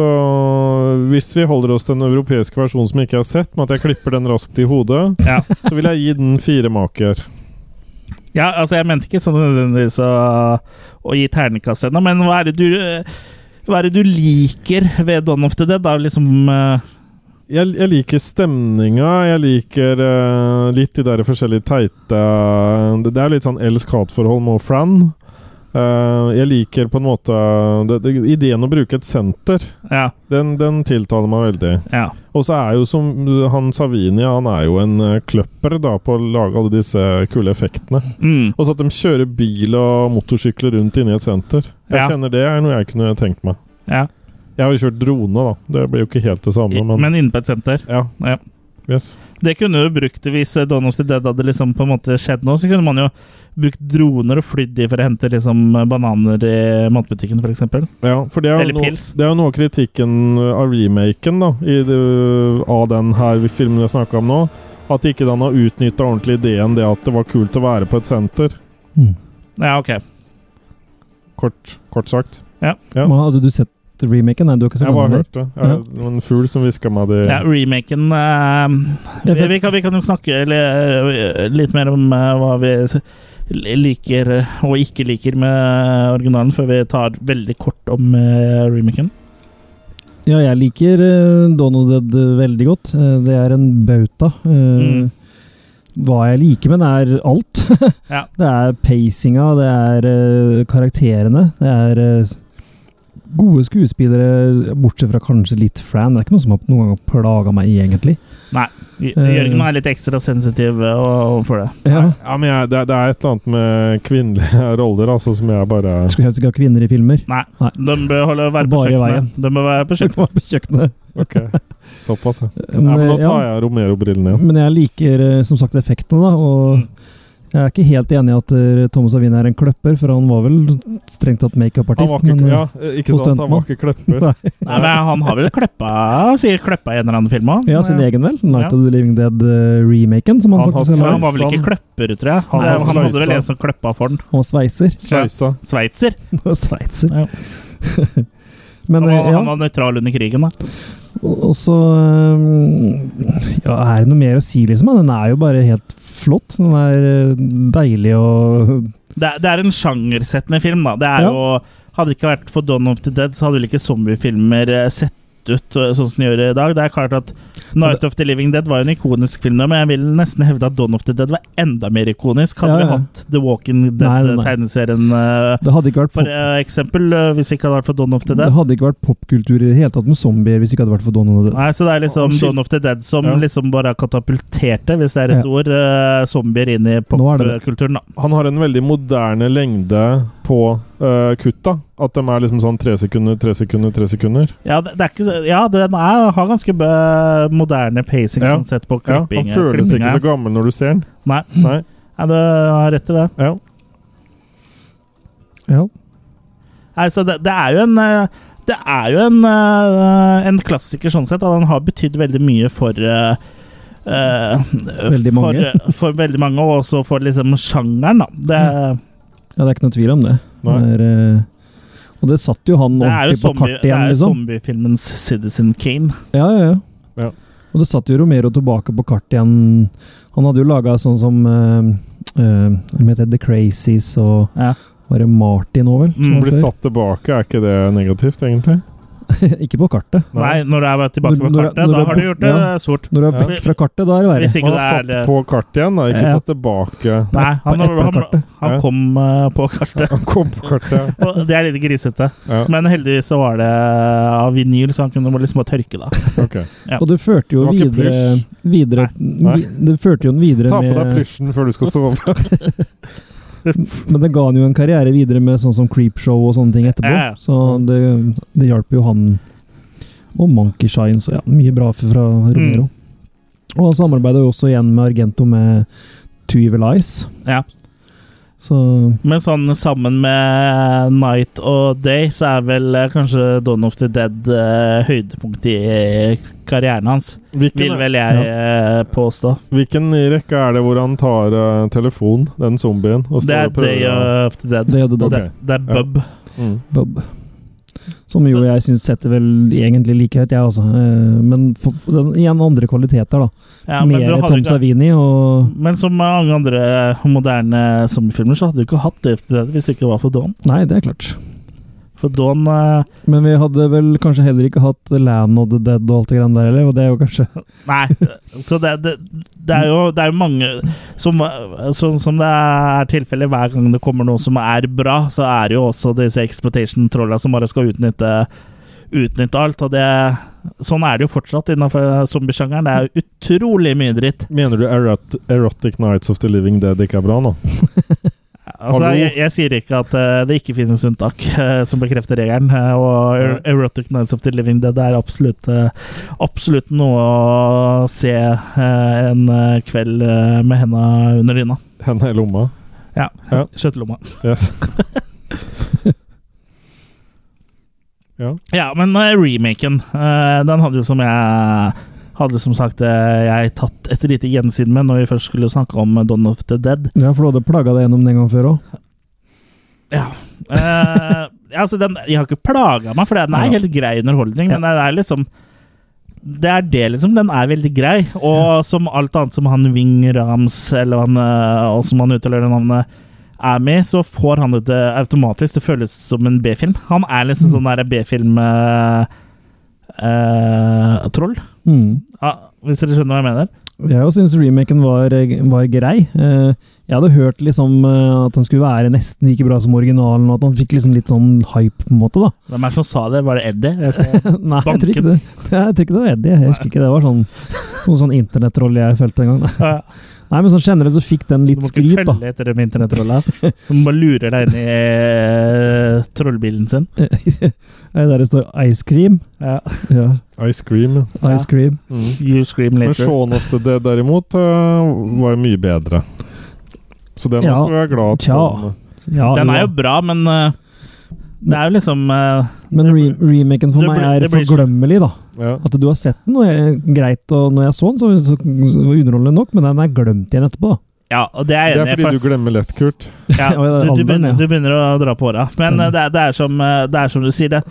B: hvis vi holder oss til den europeiske versjonen som jeg ikke har sett, med at jeg klipper den raskt i hodet,
A: Ja.
B: så vil jeg gi den fire maker.
A: Ja, altså jeg mente ikke sånn nødvendigvis å, å gi ternekast ennå, men hva er det du hva er det du liker ved Dawn of the Dead? Da liksom eh,
B: Jeg, jeg liker stemninga. Jeg liker eh, litt de der forskjellige teite Det, det er litt sånn elsk-hat-forhold med Fran. Eh, jeg liker på en måte det, det, Ideen å bruke et senter,
A: Ja.
B: den, den tiltaler meg veldig.
A: ja.
B: Og så er jo som han Savini, han er jo en eh, kløpper da på å lage alle disse kule effektene.
A: Mm.
B: Og så at de kjører bil og motorsykler rundt inni et senter. Jeg
A: Ja.
B: kjenner det er noe jeg kunne tenkt meg.
A: ja.
B: Jeg har jo kjørt drone, da. Det blir jo ikke helt det
A: I,
B: samme, men,
A: men inne på et senter.
B: ja.
A: Ja.
B: Yes.
A: Det kunne du brukt hvis eh, Dawn of the Dead hadde liksom på en måte skjedd nå. Så kunne man jo brukt droner og flydd de for å hente liksom bananer i matbutikken, f.eks.
B: Ja, for det er,
A: Eller
B: jo noe,
A: pils.
B: det er jo noe av kritikken eh, av remaken da, i det, eh, av den her filmen vi har snakka om nå. At ikke den har utnytta ordentlig ideen det at det var kult å være på et senter.
C: Mm.
A: Ja, OK.
B: Kort, kort sagt. Ja.
C: Men Hadde du sett remaken? Nei, du har ikke sett
B: Jeg bare
C: den.
B: hørte det. Jeg- Det var en fugl som hviska meg det.
A: Ja, remaken eh, vi,
C: Jeg vet-
A: vi, kan, vi kan jo snakke li, litt mer om eh, hva vi s- liker eh, og ikke liker med eh, originalen, før vi tar veldig kort om eh, remaken.
C: Ja, jeg liker uh, Dawn of the Dead veldig godt. Eh, det er en bauta. Eh,
A: Mm.
C: Hva jeg liker med den, er alt.
A: Ja.
C: Det er pacinga, det er eh, karakterene, det er eh, gode skuespillere, bortsett fra kanskje litt Fran. Det er ikke noe som har noen gang plaga meg, egentlig.
A: Nei. J- Jørgen er litt ekstra sensitiv eh, overfor det.
C: Ja.
B: Ja, men jeg, det, det er et eller annet med kvinnelige roller altså, som jeg bare
C: Jeg skulle helst ikke ha kvinner i filmer.
A: Nei.
C: Nei.
A: De bør holde være på
C: Bare i
A: kjøkkenet. De bør være på
C: Det
A: kjøkkenet.
C: var på kjøkkenet.
B: Ok, såpass, ja. ja
C: Men,
B: men nå tar
C: ja.
B: jeg Romero-brillene igjen.
C: Men jeg liker eh, som sagt effektene, da. Og jeg er ikke helt enig i at eh, Thomas Avin er en kløpper, for han var vel strengt tatt
B: Han
C: makeupartist.
B: var ikke,
C: men, eh,
B: ja, ikke
C: hos
B: sant, han var
C: Stuntman.
B: ikke kløpper.
C: Nei.
A: Nei, men han har vel kleppa sikkert kleppa i en eller annen film òg.
C: ja, sin egen vel.
A: Ja.
C: Night of the Living Dead-remaken, som han,
B: Han har
C: faktisk
A: han
C: han,
A: var vel ikke klepper, tror jeg.
B: Han
A: Han,
B: var
A: han hadde vel
C: sånn-
B: sveisa.
A: en som kleppa for den.
C: han var sveiser.
B: Sleisa.
A: Sveitser.
C: Sveitser.
A: Ja.
C: Men
A: Han,
C: eh,
A: var-
C: ja,
A: han var nøytral under krigen, da.
C: og og så eh, Ja, er det noe mer å si, liksom? Den er jo bare helt flott. Den er eh, deilig og
A: Det, er- det er en sjangersettende film, da. Det er
C: Ja.
A: jo Hadde det ikke vært for Don of the Dead, så hadde vel ikke zombiefilmer eh, sett ut eh, sånn som de gjør i dag. Det er klart at Night of the Living Dead var en ikonisk film, da, men jeg vil nesten hevde at Don of the Dead var enda mer ikonisk. Hadde
C: Ja, ja.
A: vi hatt The Walking
C: Nei, nei, nei.
A: Dead-tegneserien
C: Det hadde ikke vært
A: for
C: pop
A: eh, eksempel, eh, hvis det ikke hadde vært for Don of the
C: det
A: Dead.
C: hadde ikke vært popkultur i det hele tatt med zombier hvis det ikke hadde vært for Don of the Dead.
A: Nei, så det er liksom
B: Unnskyld.
A: Dawn of the Dead som
B: Ja.
A: liksom bare katapulterte, hvis det er et
C: Ja.
A: ord, eh, zombier inn i
C: Nå er det
A: popkulturen, da.
B: Han har en veldig moderne lengde på eh, kutta. At de er liksom sånn tre sekunder, tre sekunder, tre sekunder.
A: Ja, det, det er ikke, så- ja, den er, har ganske bø, moderne pacing
B: Ja.
A: sånn sett på
B: Ja,
A: klipping.
B: han føles ikke
A: klippinga.
B: så gammel når du ser den.
A: Nei,
C: Mm.
B: Nei,
A: ja, du har rett i det.
B: ja.
C: Ja.
A: Nei, så det, det er jo en eh, Det er jo en, eh, en klassiker sånn sett, og den har betydd veldig mye for eh, eh,
C: Veldig mange.
A: For, eh, for veldig mange, og også for liksom sjangeren, da. Det,
C: Mm. Ja, det er ikke noe tvil om det.
B: Nei.
C: Det er, eh, og det satt jo han
A: det er jo
C: ordentlig på
A: zombie,
C: kartet
A: det
C: igjen,
A: er jo
C: liksom.
A: zombiefilmens Citizen Kane.
C: Ja, ja, ja.
B: Ja.
C: Og det satt jo Romero tilbake på kartet igjen. Han hadde jo laga sånn som eh, eh, Hva heter det? The Crazies og
A: Ja.
C: Var det Martin òg, vel?
A: Mm.
C: Som var
B: Blir
C: før?
B: satt tilbake, er ikke det negativt, egentlig?
C: ikke på kartet.
A: Nei, når du er tilbake på
C: Når- når-
A: kartet,
C: når
A: da
C: du-
A: har du gjort det
C: ja.
A: sort.
C: Når du er
B: Ja.
C: vekk fra kartet, da er det
A: Hvis
C: verre.
A: ikke
B: Han
A: det
B: har
A: er eh,
B: satt på kartet igjen, da. Ikke
C: Ja.
B: satt tilbake.
A: Nei,
C: på
A: han, han,
C: eplekartet.
A: han
B: Ja.
A: kom eh, på kartet.
B: Han kom på kartet.
A: Og det er litt grisete.
B: Ja,
A: Men heldigvis så var det eh, av vinyl, så han kunne bare liksom bare tørke, da.
B: ok.
C: Og det førte
B: Det
C: jo
B: var ikke
C: videre, videre
B: Nei.
C: vi- Det førte jo den videre
B: Ta på deg
C: med
B: plysjen før du skal sove.
C: Men det ga han jo en karriere videre med sånn som Creepshow og sånne ting etterpå.
A: Ja, ja.
C: Så det, det hjalp jo han. Og Monkey Shines og ja, mye bra fra fra Romero.
A: Mm.
C: Og han samarbeida jo også igjen med Argento med Two Evil Eyes.
A: Ja.
C: Så
A: Men sånn sammen med Night og Day, så er vel eh, kanskje Dawn of the Dead eh, høydepunktet i eh, karrieren hans. Vil
B: Hvilken,
A: vel jeg eh, påstå.
B: hvilken i rekka er det hvor han tar uh, telefon, den zombien, og
A: Det
B: står
A: er
B: og
A: Day
B: prøver? å-
A: of the Dead.
C: det gjør det da,
A: Det, det er
B: Ja.
A: Bub.
B: Mm.
C: Bob. Som jo
A: Så-
C: jeg syns setter vel egentlig like høyt, jeg også. Eh, Men på- den, igjen andre kvaliteter, da.
A: Ja, men
C: Mer
A: du hadde
C: Tom
A: ikke-
C: Savini og
A: Men som mange andre moderne zombiefilmer, så hadde du ikke hatt det etter det hvis det ikke var for Dawn.
C: Nei, det er klart.
A: For Dawn eh,
C: Men vi hadde vel kanskje heller ikke hatt Land of the Dead og alt det greiene der heller, og det er jo kanskje
A: Nei. Så det, det, det er jo det er jo mange som, Sånn som det er tilfellet hver gang det kommer noe som er bra, så er det jo også disse exploitation-trolla som bare skal utnytte Utnytte alt. Og det, sånn er det jo fortsatt innenfor zombiesjangeren. Det er jo utrolig mye dritt.
B: Mener du erot Erotic Nights of the Living Dead ikke er bra nå?
A: Altså,
B: Hallo?
A: jeg, jeg sier ikke at eh, det ikke finnes unntak eh, som bekrefter regelen. eh, og er Erotic Nights of the Living Dead er absolutt, eh, absolutt noe å se eh, en eh, kveld eh, med henda under dyna.
B: Henda i lomma?
A: Ja.
B: Ja.
A: Skjøtelomma.
B: Yes.
A: Ja, men eh, remaken, eh, den hadde jo som jeg hadde som sagt eh, jeg tatt et lite gjensyn med når vi først skulle snakke om eh, Dawn of the Dead.
C: Ja, for du hadde plaga deg gjennom den gang før òg.
A: Eh, altså den, jeg har ikke plaga meg, for den er
C: Ja.
A: helt grei underholdning. Men den er liksom Det er det, liksom. Den er veldig grei. Og som alt annet som han Wing Rams, eller han, eh, og som han uttaler det navnet, er med, så får han det til automatisk. Det føles som en B-film. Han er liksom sånn der eh, B-film-troll.
C: Mm.
A: ja, eh, hvis dere skjønner hva jeg mener.
C: Jeg syns remaken var, var grei. Eh, Jeg hadde hørt liksom eh, at den skulle være nesten like bra som originalen, og at han fikk liksom litt sånn hype, på en måte. da.
A: Hvem er det som sa det? Var det Eddie? Jeg skal...
C: Nei, jeg tror
A: Banken.
C: ikke det, jeg tror ikke det var Eddie. Jeg husker ikke det var sånn, noen sånn internettroll jeg følte en gang. da.
A: Ja,
C: Nei, men sånn generelt så fikk
A: Du
C: den litt
A: må ikke
C: skryt, da.
A: følge etter dem internettrolla. Du må bare lure deg inn i eh, trollbilen sin.
C: Nei, Der det står Ice Cream.
A: Ja.
C: Ja,
B: Ice Cream. ja.
A: Ja.
C: Ice Cream.
A: You scream
B: Men
A: later.
B: Shaun of the Dead derimot øh, var mye bedre. Så den
C: Ja.
B: skal vi være glad eh,
C: Tja.
B: for.
C: Ja,
A: Den er jo
C: ja.
A: bra, men eh, det er jo liksom eh,
C: Men re remaken for
A: Det
C: meg
A: blir-
C: er
A: det blir-
C: forglemmelig, da.
B: Ja.
C: At du har sett den, og jeg, greit, og når jeg så den, så, så, så var det underholdende nok, men den er glemt igjen etterpå. da.
A: Ja, og det er
B: Det
A: jeg
B: er
A: enig i.
B: fordi
A: for-
B: du glemmer lett, Kurt.
A: Ja,
C: Og
A: du,
C: det er
A: du,
C: alderen,
A: begynner,
C: ja.
A: du begynner å dra på åra. Men
C: Stemmer.
A: eh, det, er- det, er som, eh, det er som du sier, det.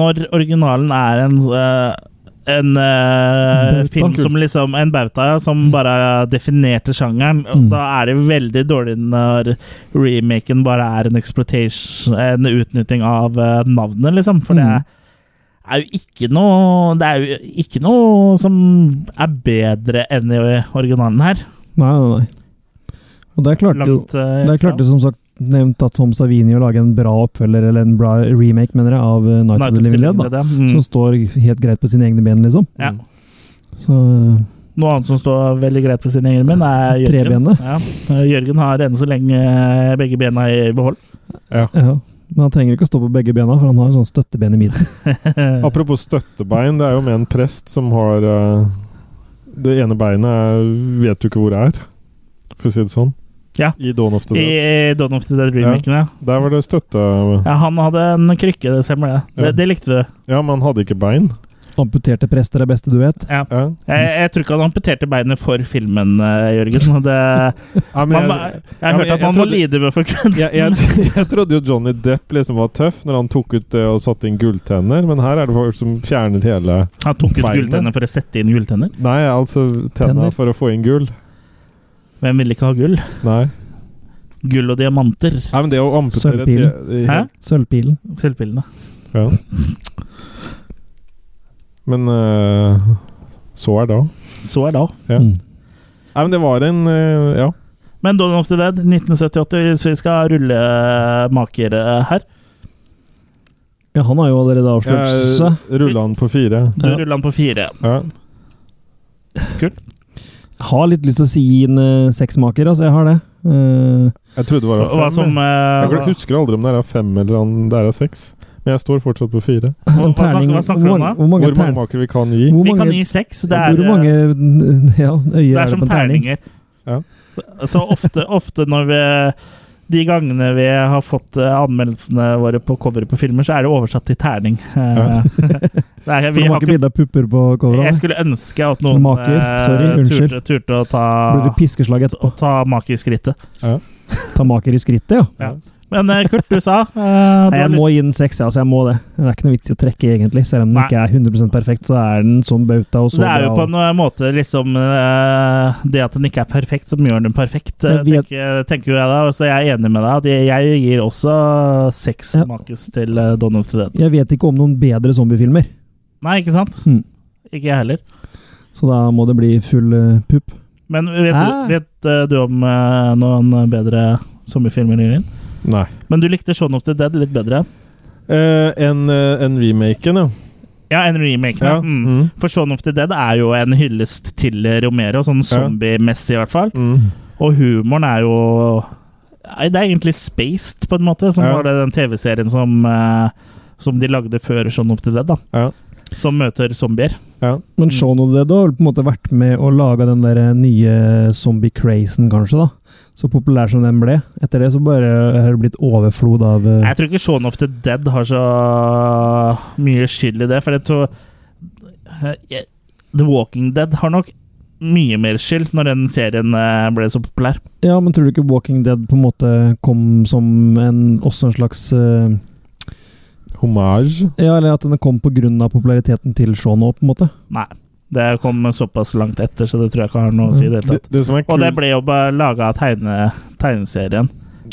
A: Når originalen er en eh, en eh,
C: Bauta.
A: film som liksom En bauta ja, som bare definerte sjangeren. og
C: Mm.
A: Da er det veldig dårlig når remaken bare er en exploitation En utnytting av eh, navnet, liksom. For det
C: Mm.
A: er jo ikke noe Det er jo ikke noe som er bedre enn i originalen her.
C: Nei, nei, nei. Og der klarte jo
A: Langt eh,
C: Der klarte som sagt nevnt at Tom Savini å lage en bra oppfølger, eller en bra remake, mener jeg, av eh, Night of the Living Dead. da.
A: Dead, ja. Mm.
C: Som står helt greit på sine egne ben, liksom.
A: Ja.
C: Så
A: Mm. Noe annet som står veldig greit på sine egne ben, er Jørgen.
C: Trebenet.
A: Ja. Eh, Jørgen har enn så lenge eh, begge bena i behold.
C: eh, ja. Men han trenger ikke å stå på begge bena, for han har en sånn støtteben i midten.
B: Apropos støttebein, det er jo med en prest som har øh, Det ene beinet er, vet du ikke hvor er, for å si det sånn.
A: Ja.
B: I Dawn of the
A: I
B: Dead.
A: Don't of the Dead remaken, ja.
B: Der var det støtte...
A: ja. Han hadde en krykke, det stemmer det.
B: Ja.
A: Det, det likte du.
B: Ja, men han hadde ikke bein.
C: Amputerte prester er beste du vet.
A: Ja.
B: Ja.
A: Jeg, jeg tror ikke han amputerte beinet for filmen, eh, Jørgen. Og det,
B: Ja, men
A: man,
B: jeg,
A: jeg,
B: men
A: hørte
B: jeg-
A: at man
B: jeg
A: må
B: trodde-
A: lide med for kunsten.
B: jeg, jeg, jeg trodde jo Johnny Depp liksom var tøff når han tok ut det og satte inn gulltenner, men her er det folk som fjerner hele
A: Han tok ut
B: Beinet?
A: gulltenner for å sette inn gulltenner.
B: Nei, altså tenna
C: Tenner.
B: for å få inn gull.
A: Hvem ville ikke ha gull?
B: Nei.
A: Gull og diamanter.
B: Nei, men det å amputere
C: Sølvpilen.
B: te- i-
A: Hæ?
C: Sølvpilen.
A: Sølvpillene.
B: Ja. Men øh, så er det òg.
A: Så er det òg.
B: Ja.
C: Mm.
B: Nei, men det var en øh, Ja.
A: Men Dawn of the Dead 1978, hvis vi skal rulle makere her
C: Ja, han har jo allerede avslørt
B: Jeg
C: seg.
B: rulla han på fire.
A: Du
C: Ja.
A: ruller den på fire.
B: Ja.
C: Har litt lyst til å si en eh, sexmaker, altså. Jeg har det. Eh,
B: Jeg trodde det var
A: Hva
B: fem.
A: som,
B: jeg.
A: eh,
B: jeg husker aldri om det er fem eller om det er seks. Men jeg står fortsatt på fire.
A: hva,
C: en
A: hva, snakker,
C: terning-
A: hva snakker du om da?
C: Hvor mange,
B: Hvor
C: hvor
B: mange
C: mange,
B: maker vi kan gi.
C: hvor
A: Vi
C: mange,
A: kan gi seks. Det er, eh,
C: hvor mange ja, øyer
A: det
C: er
A: er
C: det
A: som
C: på en eh, terning?
A: terninger.
B: Ja.
A: Så ofte, ofte når vi De gangene vi har fått eh, anmeldelsene våre på cover på filmer, så er det oversatt til terning. Eh, det er,
C: For
A: vi
C: de
A: har
C: har ikke
A: ikke,
C: bilde av pupper på
A: jeg
C: coveret?
A: skulle ønske at noen
C: Maker,
A: eh,
C: sorry, unnskyld.
A: turte, turte å ta,
C: Blir det piskeslag
A: å
C: etterpå?
A: ta makerskrittet.
C: Ta maker i skrittet, ja.
A: Men eh, Kurt, du sa eh, du har
C: Nei, jeg
A: lyst-
C: må gi den seks, ja. Altså jeg må det. Det er ikke noe vits i å trekke, egentlig. Selv om den
A: Nei.
C: ikke er 100 perfekt, så er den som bauta og så
A: det er jo
C: bra.
A: på en eh, måte liksom eh, Det at den ikke er perfekt, som gjør den perfekt, eh,
C: Jeg vet-
A: tenker, tenker jo jeg da. Så jeg er enig med deg. at Jeg, jeg gir også seks
C: Ja.
A: makes til eh, Dawn of the Dead.
C: Jeg vet ikke om noen bedre zombiefilmer,
A: Nei, ikke sant?
C: Mm.
A: Ikke jeg heller.
C: så da må det bli full eh, pupp.
A: Men vet,
C: Ah.
A: du, vet eh, du om eh, noen bedre sommerfilmer, Jørgen?
B: Nei.
A: Men du likte Shaun of the Dead litt bedre?
B: Eh, en, eh, en remaken, ja.
A: Ja, en remake.
B: ja.
A: da. Mm.
B: Mm.
A: For Shaun of the Dead er jo en hyllest til Romero, sånn zombiemessig i hvert fall.
B: Mm.
A: Og humoren er jo Nei, Det er egentlig spaced, på en måte, som
B: Ja.
A: var det den TV-serien som, eh, som de lagde før Shaun of the Dead, da.
B: Ja.
A: Som møter zombier.
B: ja.
A: Mm.
C: Men Shaun of the Dead har vel på en måte vært med å lage den der eh, nye zombie-crazen, kanskje, da. Så populær som den ble. Etter det så bare har det blitt overflod av eh,
A: Jeg tror ikke Shaun of the Dead har så mye skyld i det, for jeg tror eh, jeg- The Walking Dead har nok mye mer skyld når den serien eh, ble så populær.
C: Ja, men tror du ikke Walking Dead på en måte kom som en, også en slags eh,
B: Hommage.
C: Ja, eller at den kom på grunn av populariteten til Shaun òg, på en måte.
A: Nei. Det kom såpass langt etter, så det tror jeg ikke har noe å si i det hele
B: Det,
A: tatt.
B: det, som er
A: Og det
B: Mm. kul,
A: ble jo bare laga av tegne, tegneserien.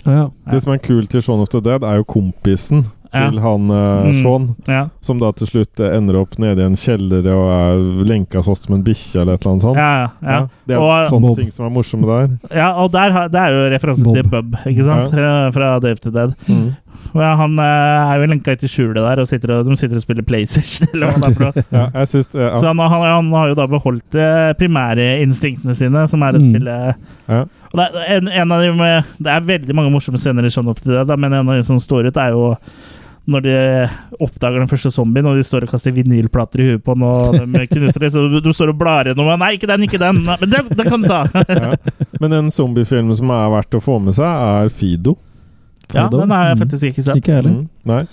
C: Ja, ja.
B: det som er kult til Shaun of the Dead, er jo kompisen.
A: Ja.
B: til han eh,
A: Mm.
B: Sean,
A: Ja.
B: som da til slutt eh, ender opp nede i en kjeller og er lenka fast som en bikkje eller et eller annet sånt.
A: Ja, ja, ja.
B: Ja, Det er
A: Og-
B: sånne
C: Bob.
B: ting som er morsomme der.
A: ja, og der, har- det er jo referanse
C: Bob.
A: til Bub, ikke sant? Eh, Fra Dave to Dead.
B: Mm.
A: Og ja, han eh, er jo lenka til skjulet der, og, sitter og de sitter og spiller PlayStation. Eller hva det er for noe.
B: Ja, jeg syns eh,
A: Så
B: ja,
A: han, han, han har jo da beholdt eh, primære instinktene sine, som er å
C: Mm.
A: spille
B: ja.
A: og det, er, en, en av de med, det er veldig mange morsomme scener i Shaun of the Dead, da, men en av de som står ut, er jo når de oppdager den første zombien, og de står og kaster vinylplater i huet på den, og de knuser det, så du, du står og blar gjennom og, Nei, ikke den, ikke den! Nei, Men den, den kan du ta!
B: Ja. Men en zombiefilm som er verdt å få med seg, er Fido.
A: Ja, den har jeg faktisk ikke sett.
C: Mm. Ikke jeg heller.
B: Mm. Nei.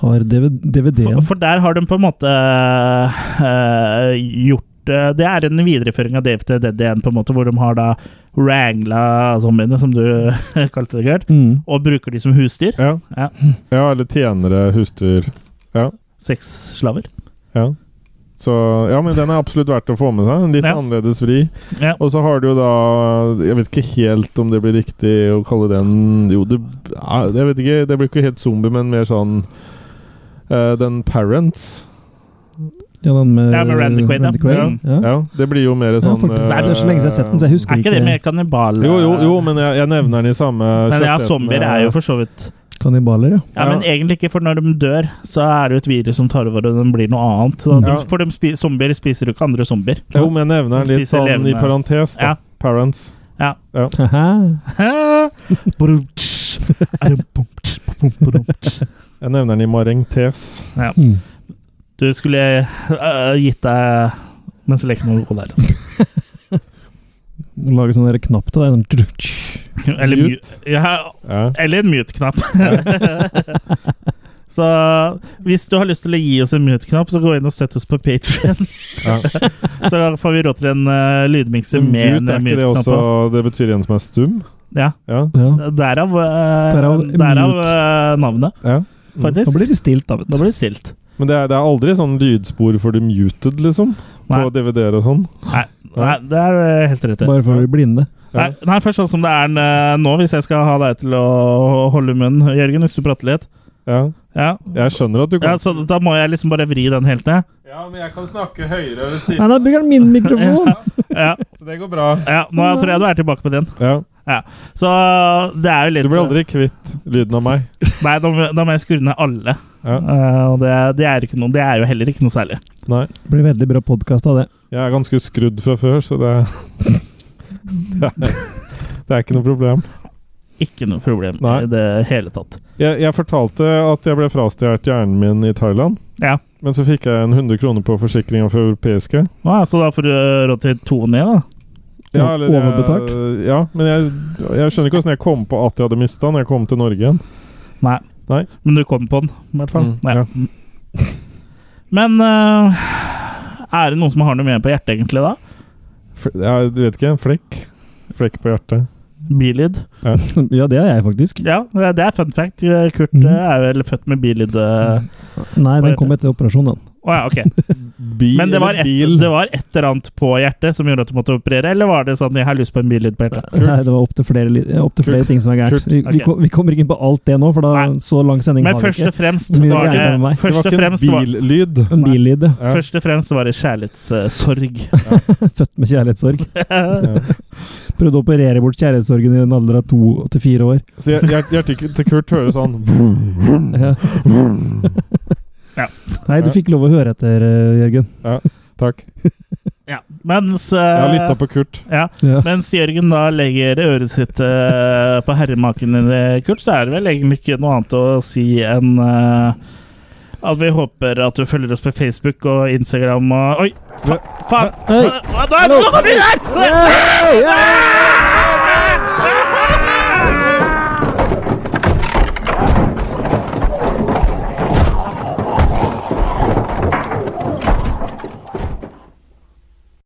C: Har DVD-en.
A: For, for der har de på en måte eh, gjort eh, Det er en videreføring av Dave til Dead igjen, på en måte, hvor de har da wrangla zombiene, som du kalte det, Gerd,
C: Mm.
A: og bruker de som husdyr.
B: Ja.
A: Ja.
B: ja, eller tjenere, husdyr. Ja.
A: Sexslaver.
B: ja. Så ja, men den er absolutt verdt å få med seg. En litt
A: Ja.
B: annerledes vri.
A: Ja.
B: Og så har du jo da Jeg vet ikke helt om det blir riktig å kalle den Jo, det ja, Jeg vet ikke. Det blir ikke helt zombie, men mer sånn eh, Den Parents.
C: Ja, den med,
A: Ja, med Randy Quaid, ja. Mm.
C: Ja.
B: Ja, det blir jo mer
C: Ja,
B: sånn
C: faktisk.
B: eh,
C: Det er så lenge siden jeg har sett den, så jeg husker
A: Er ikke det mer kannibal?
B: Jo, jo, jo, men jeg, jeg nevner den i samme
A: Men ja,
B: kjøttetende-
A: zombier er jo for så vidt
C: Kannibaler, ja.
A: Ja,
B: Ja.
A: men egentlig ikke, for når de dør, så er det jo et virus som tar over, og den blir noe annet. Så de,
B: Ja.
A: for de spi zombier spiser jo ikke andre zombier.
B: Jo, men jeg nevner den litt
A: Spiser
B: sånn i
A: levende.
B: parentes, da.
A: Ja.
B: Parents.
C: Haha.
A: Brumtsj. Arumpumtsj, pumprumtsj.
B: Jeg nevner den i marengtes.
C: Mm.
A: du skulle øh, gitt deg mens leken noe god der. Altså.
C: Må Lage sånn der knapp til deg. sånn tsk, tsk.
A: Eller
B: Mute.
A: mute. Ja,
B: Ja.
A: eller en mute-knapp. Så hvis du har lyst til å gi oss en mute-knapp, så gå inn og støtt oss på Patreon
B: Ja.
A: Så får vi råd til en uh, lydmikser med en
B: Mute, er ikke det
A: mute-knapp.
B: også
A: på.
B: Det betyr en som er stum?
A: Ja.
B: Ja.
C: Ja.
A: Derav,
C: Derav
A: uh, derav øh, navnet,
B: ja.
A: faktisk.
C: Da blir det stilt, da. vet du.
A: Da blir det stilt.
B: Men det er, det er aldri sånn lydspor for the muted, liksom?
A: Nei.
B: På DVD-er og sånn?
A: Nei, nei, det er du helt rett i.
C: Bare for å bli blinde.
B: Ja.
A: Nei, nei, først sånn som det er eh, nå, hvis jeg skal ha deg til å holde munnen, Jørgen, hvis du prater litt.
B: Ja.
A: Ja.
B: Jeg skjønner at du
A: ja,
B: kan
A: så da må jeg liksom bare vri den helt ned.
B: Ja, men jeg kan snakke høyere ved
C: Nei, da bruker han min mikrofon!
A: Ja,
B: så det går bra.
A: ja nå tror jeg du er tilbake på den.
B: Ja.
A: Så det er jo litt
B: Du blir aldri kvitt lyden av meg.
A: Nei, da må, da må jeg skru ned alle.
B: Ja.
A: Eh, og det, det, er ikke noe, det er jo heller ikke noe særlig.
B: Nei.
C: Det blir veldig bra podkast av det.
B: Jeg er ganske skrudd fra før, så det er Det er, det er ikke noe problem.
A: Ikke noe problem
B: Nei.
A: i det hele tatt.
B: Jeg, jeg fortalte at jeg ble frastjålet hjernen min i Thailand.
A: Ja.
B: Men så fikk jeg en 100 kroner på forsikringa for europeiske.
A: Nå, ja, så da får du eh, råd til to ned, da.
B: Ja, eller jeg-
C: Overbetalt?
B: Ja, men jeg, jeg skjønner ikke hvordan jeg kom på at jeg hadde mista den når jeg kom til Norge igjen.
A: Nei.
B: Nei.
A: Men du kom på den, i hvert fall.
B: Mm,
A: Nei.
B: ja.
A: Men eh, er det noen som har noe mer på hjertet, egentlig, da?
B: F- Ja, du vet ikke, en flekk. Flekk på hjertet.
A: Bilyd?
C: Ja, det er jeg faktisk.
A: Ja, det er fun fact. Kurt
B: Mm.
C: Mhm.
A: eh, er vel født med billyd... eh.
C: Nei, den kom etter operasjonen, den.
A: Å ja, ok.
B: Bil
A: Men det var,
B: eller
A: et,
B: bil?
A: det var et eller annet på hjertet som gjorde at du måtte operere, eller var det sånn 'jeg har lyst på en billyd på hjertet'?
C: Nei, det var opptil flere, li- eh, opp til flere
B: Kult.
C: ting som er gærent.
B: Kult.
C: Vi, vi,
A: Ok.
C: kom- vi kommer ikke inn på alt det nå, for da
A: Nei.
C: så lang sending
A: Men
C: har vi
A: først og
C: ikke.
A: fremst
C: Mye
A: var
C: gærent med
A: det
B: det
C: meg.
B: var
A: Først og
B: ikke en
A: fremst var,
B: billyd.
C: En billyd.
B: Ja.
A: først og fremst var det kjærlighetssorg.
C: Født med kjærlighetssorg. Prøvde å operere bort kjærlighetssorgen i en alder av to til fire år.
B: Så hjer- hjer- hjertet til Kurt hører sånn
C: Ja.
A: Mm. Ja.
C: Nei, du
B: Ja.
C: fikk lov å høre etter, eh, Jørgen.
B: Takk.
A: Ja. Mens, eh,
B: Jeg har lytta på Kurt.
A: ja,
C: Ja.
A: mens Jørgen da legger øret sitt eh, på herremaken din, eh, Kurt, så er det vel egentlig ikke noe annet å si enn eh, at vi håper at du følger oss på Facebook og Instagram og Oi! Faen!
C: Hei.
A: Hva- hva- Nå kommer de der! Ah!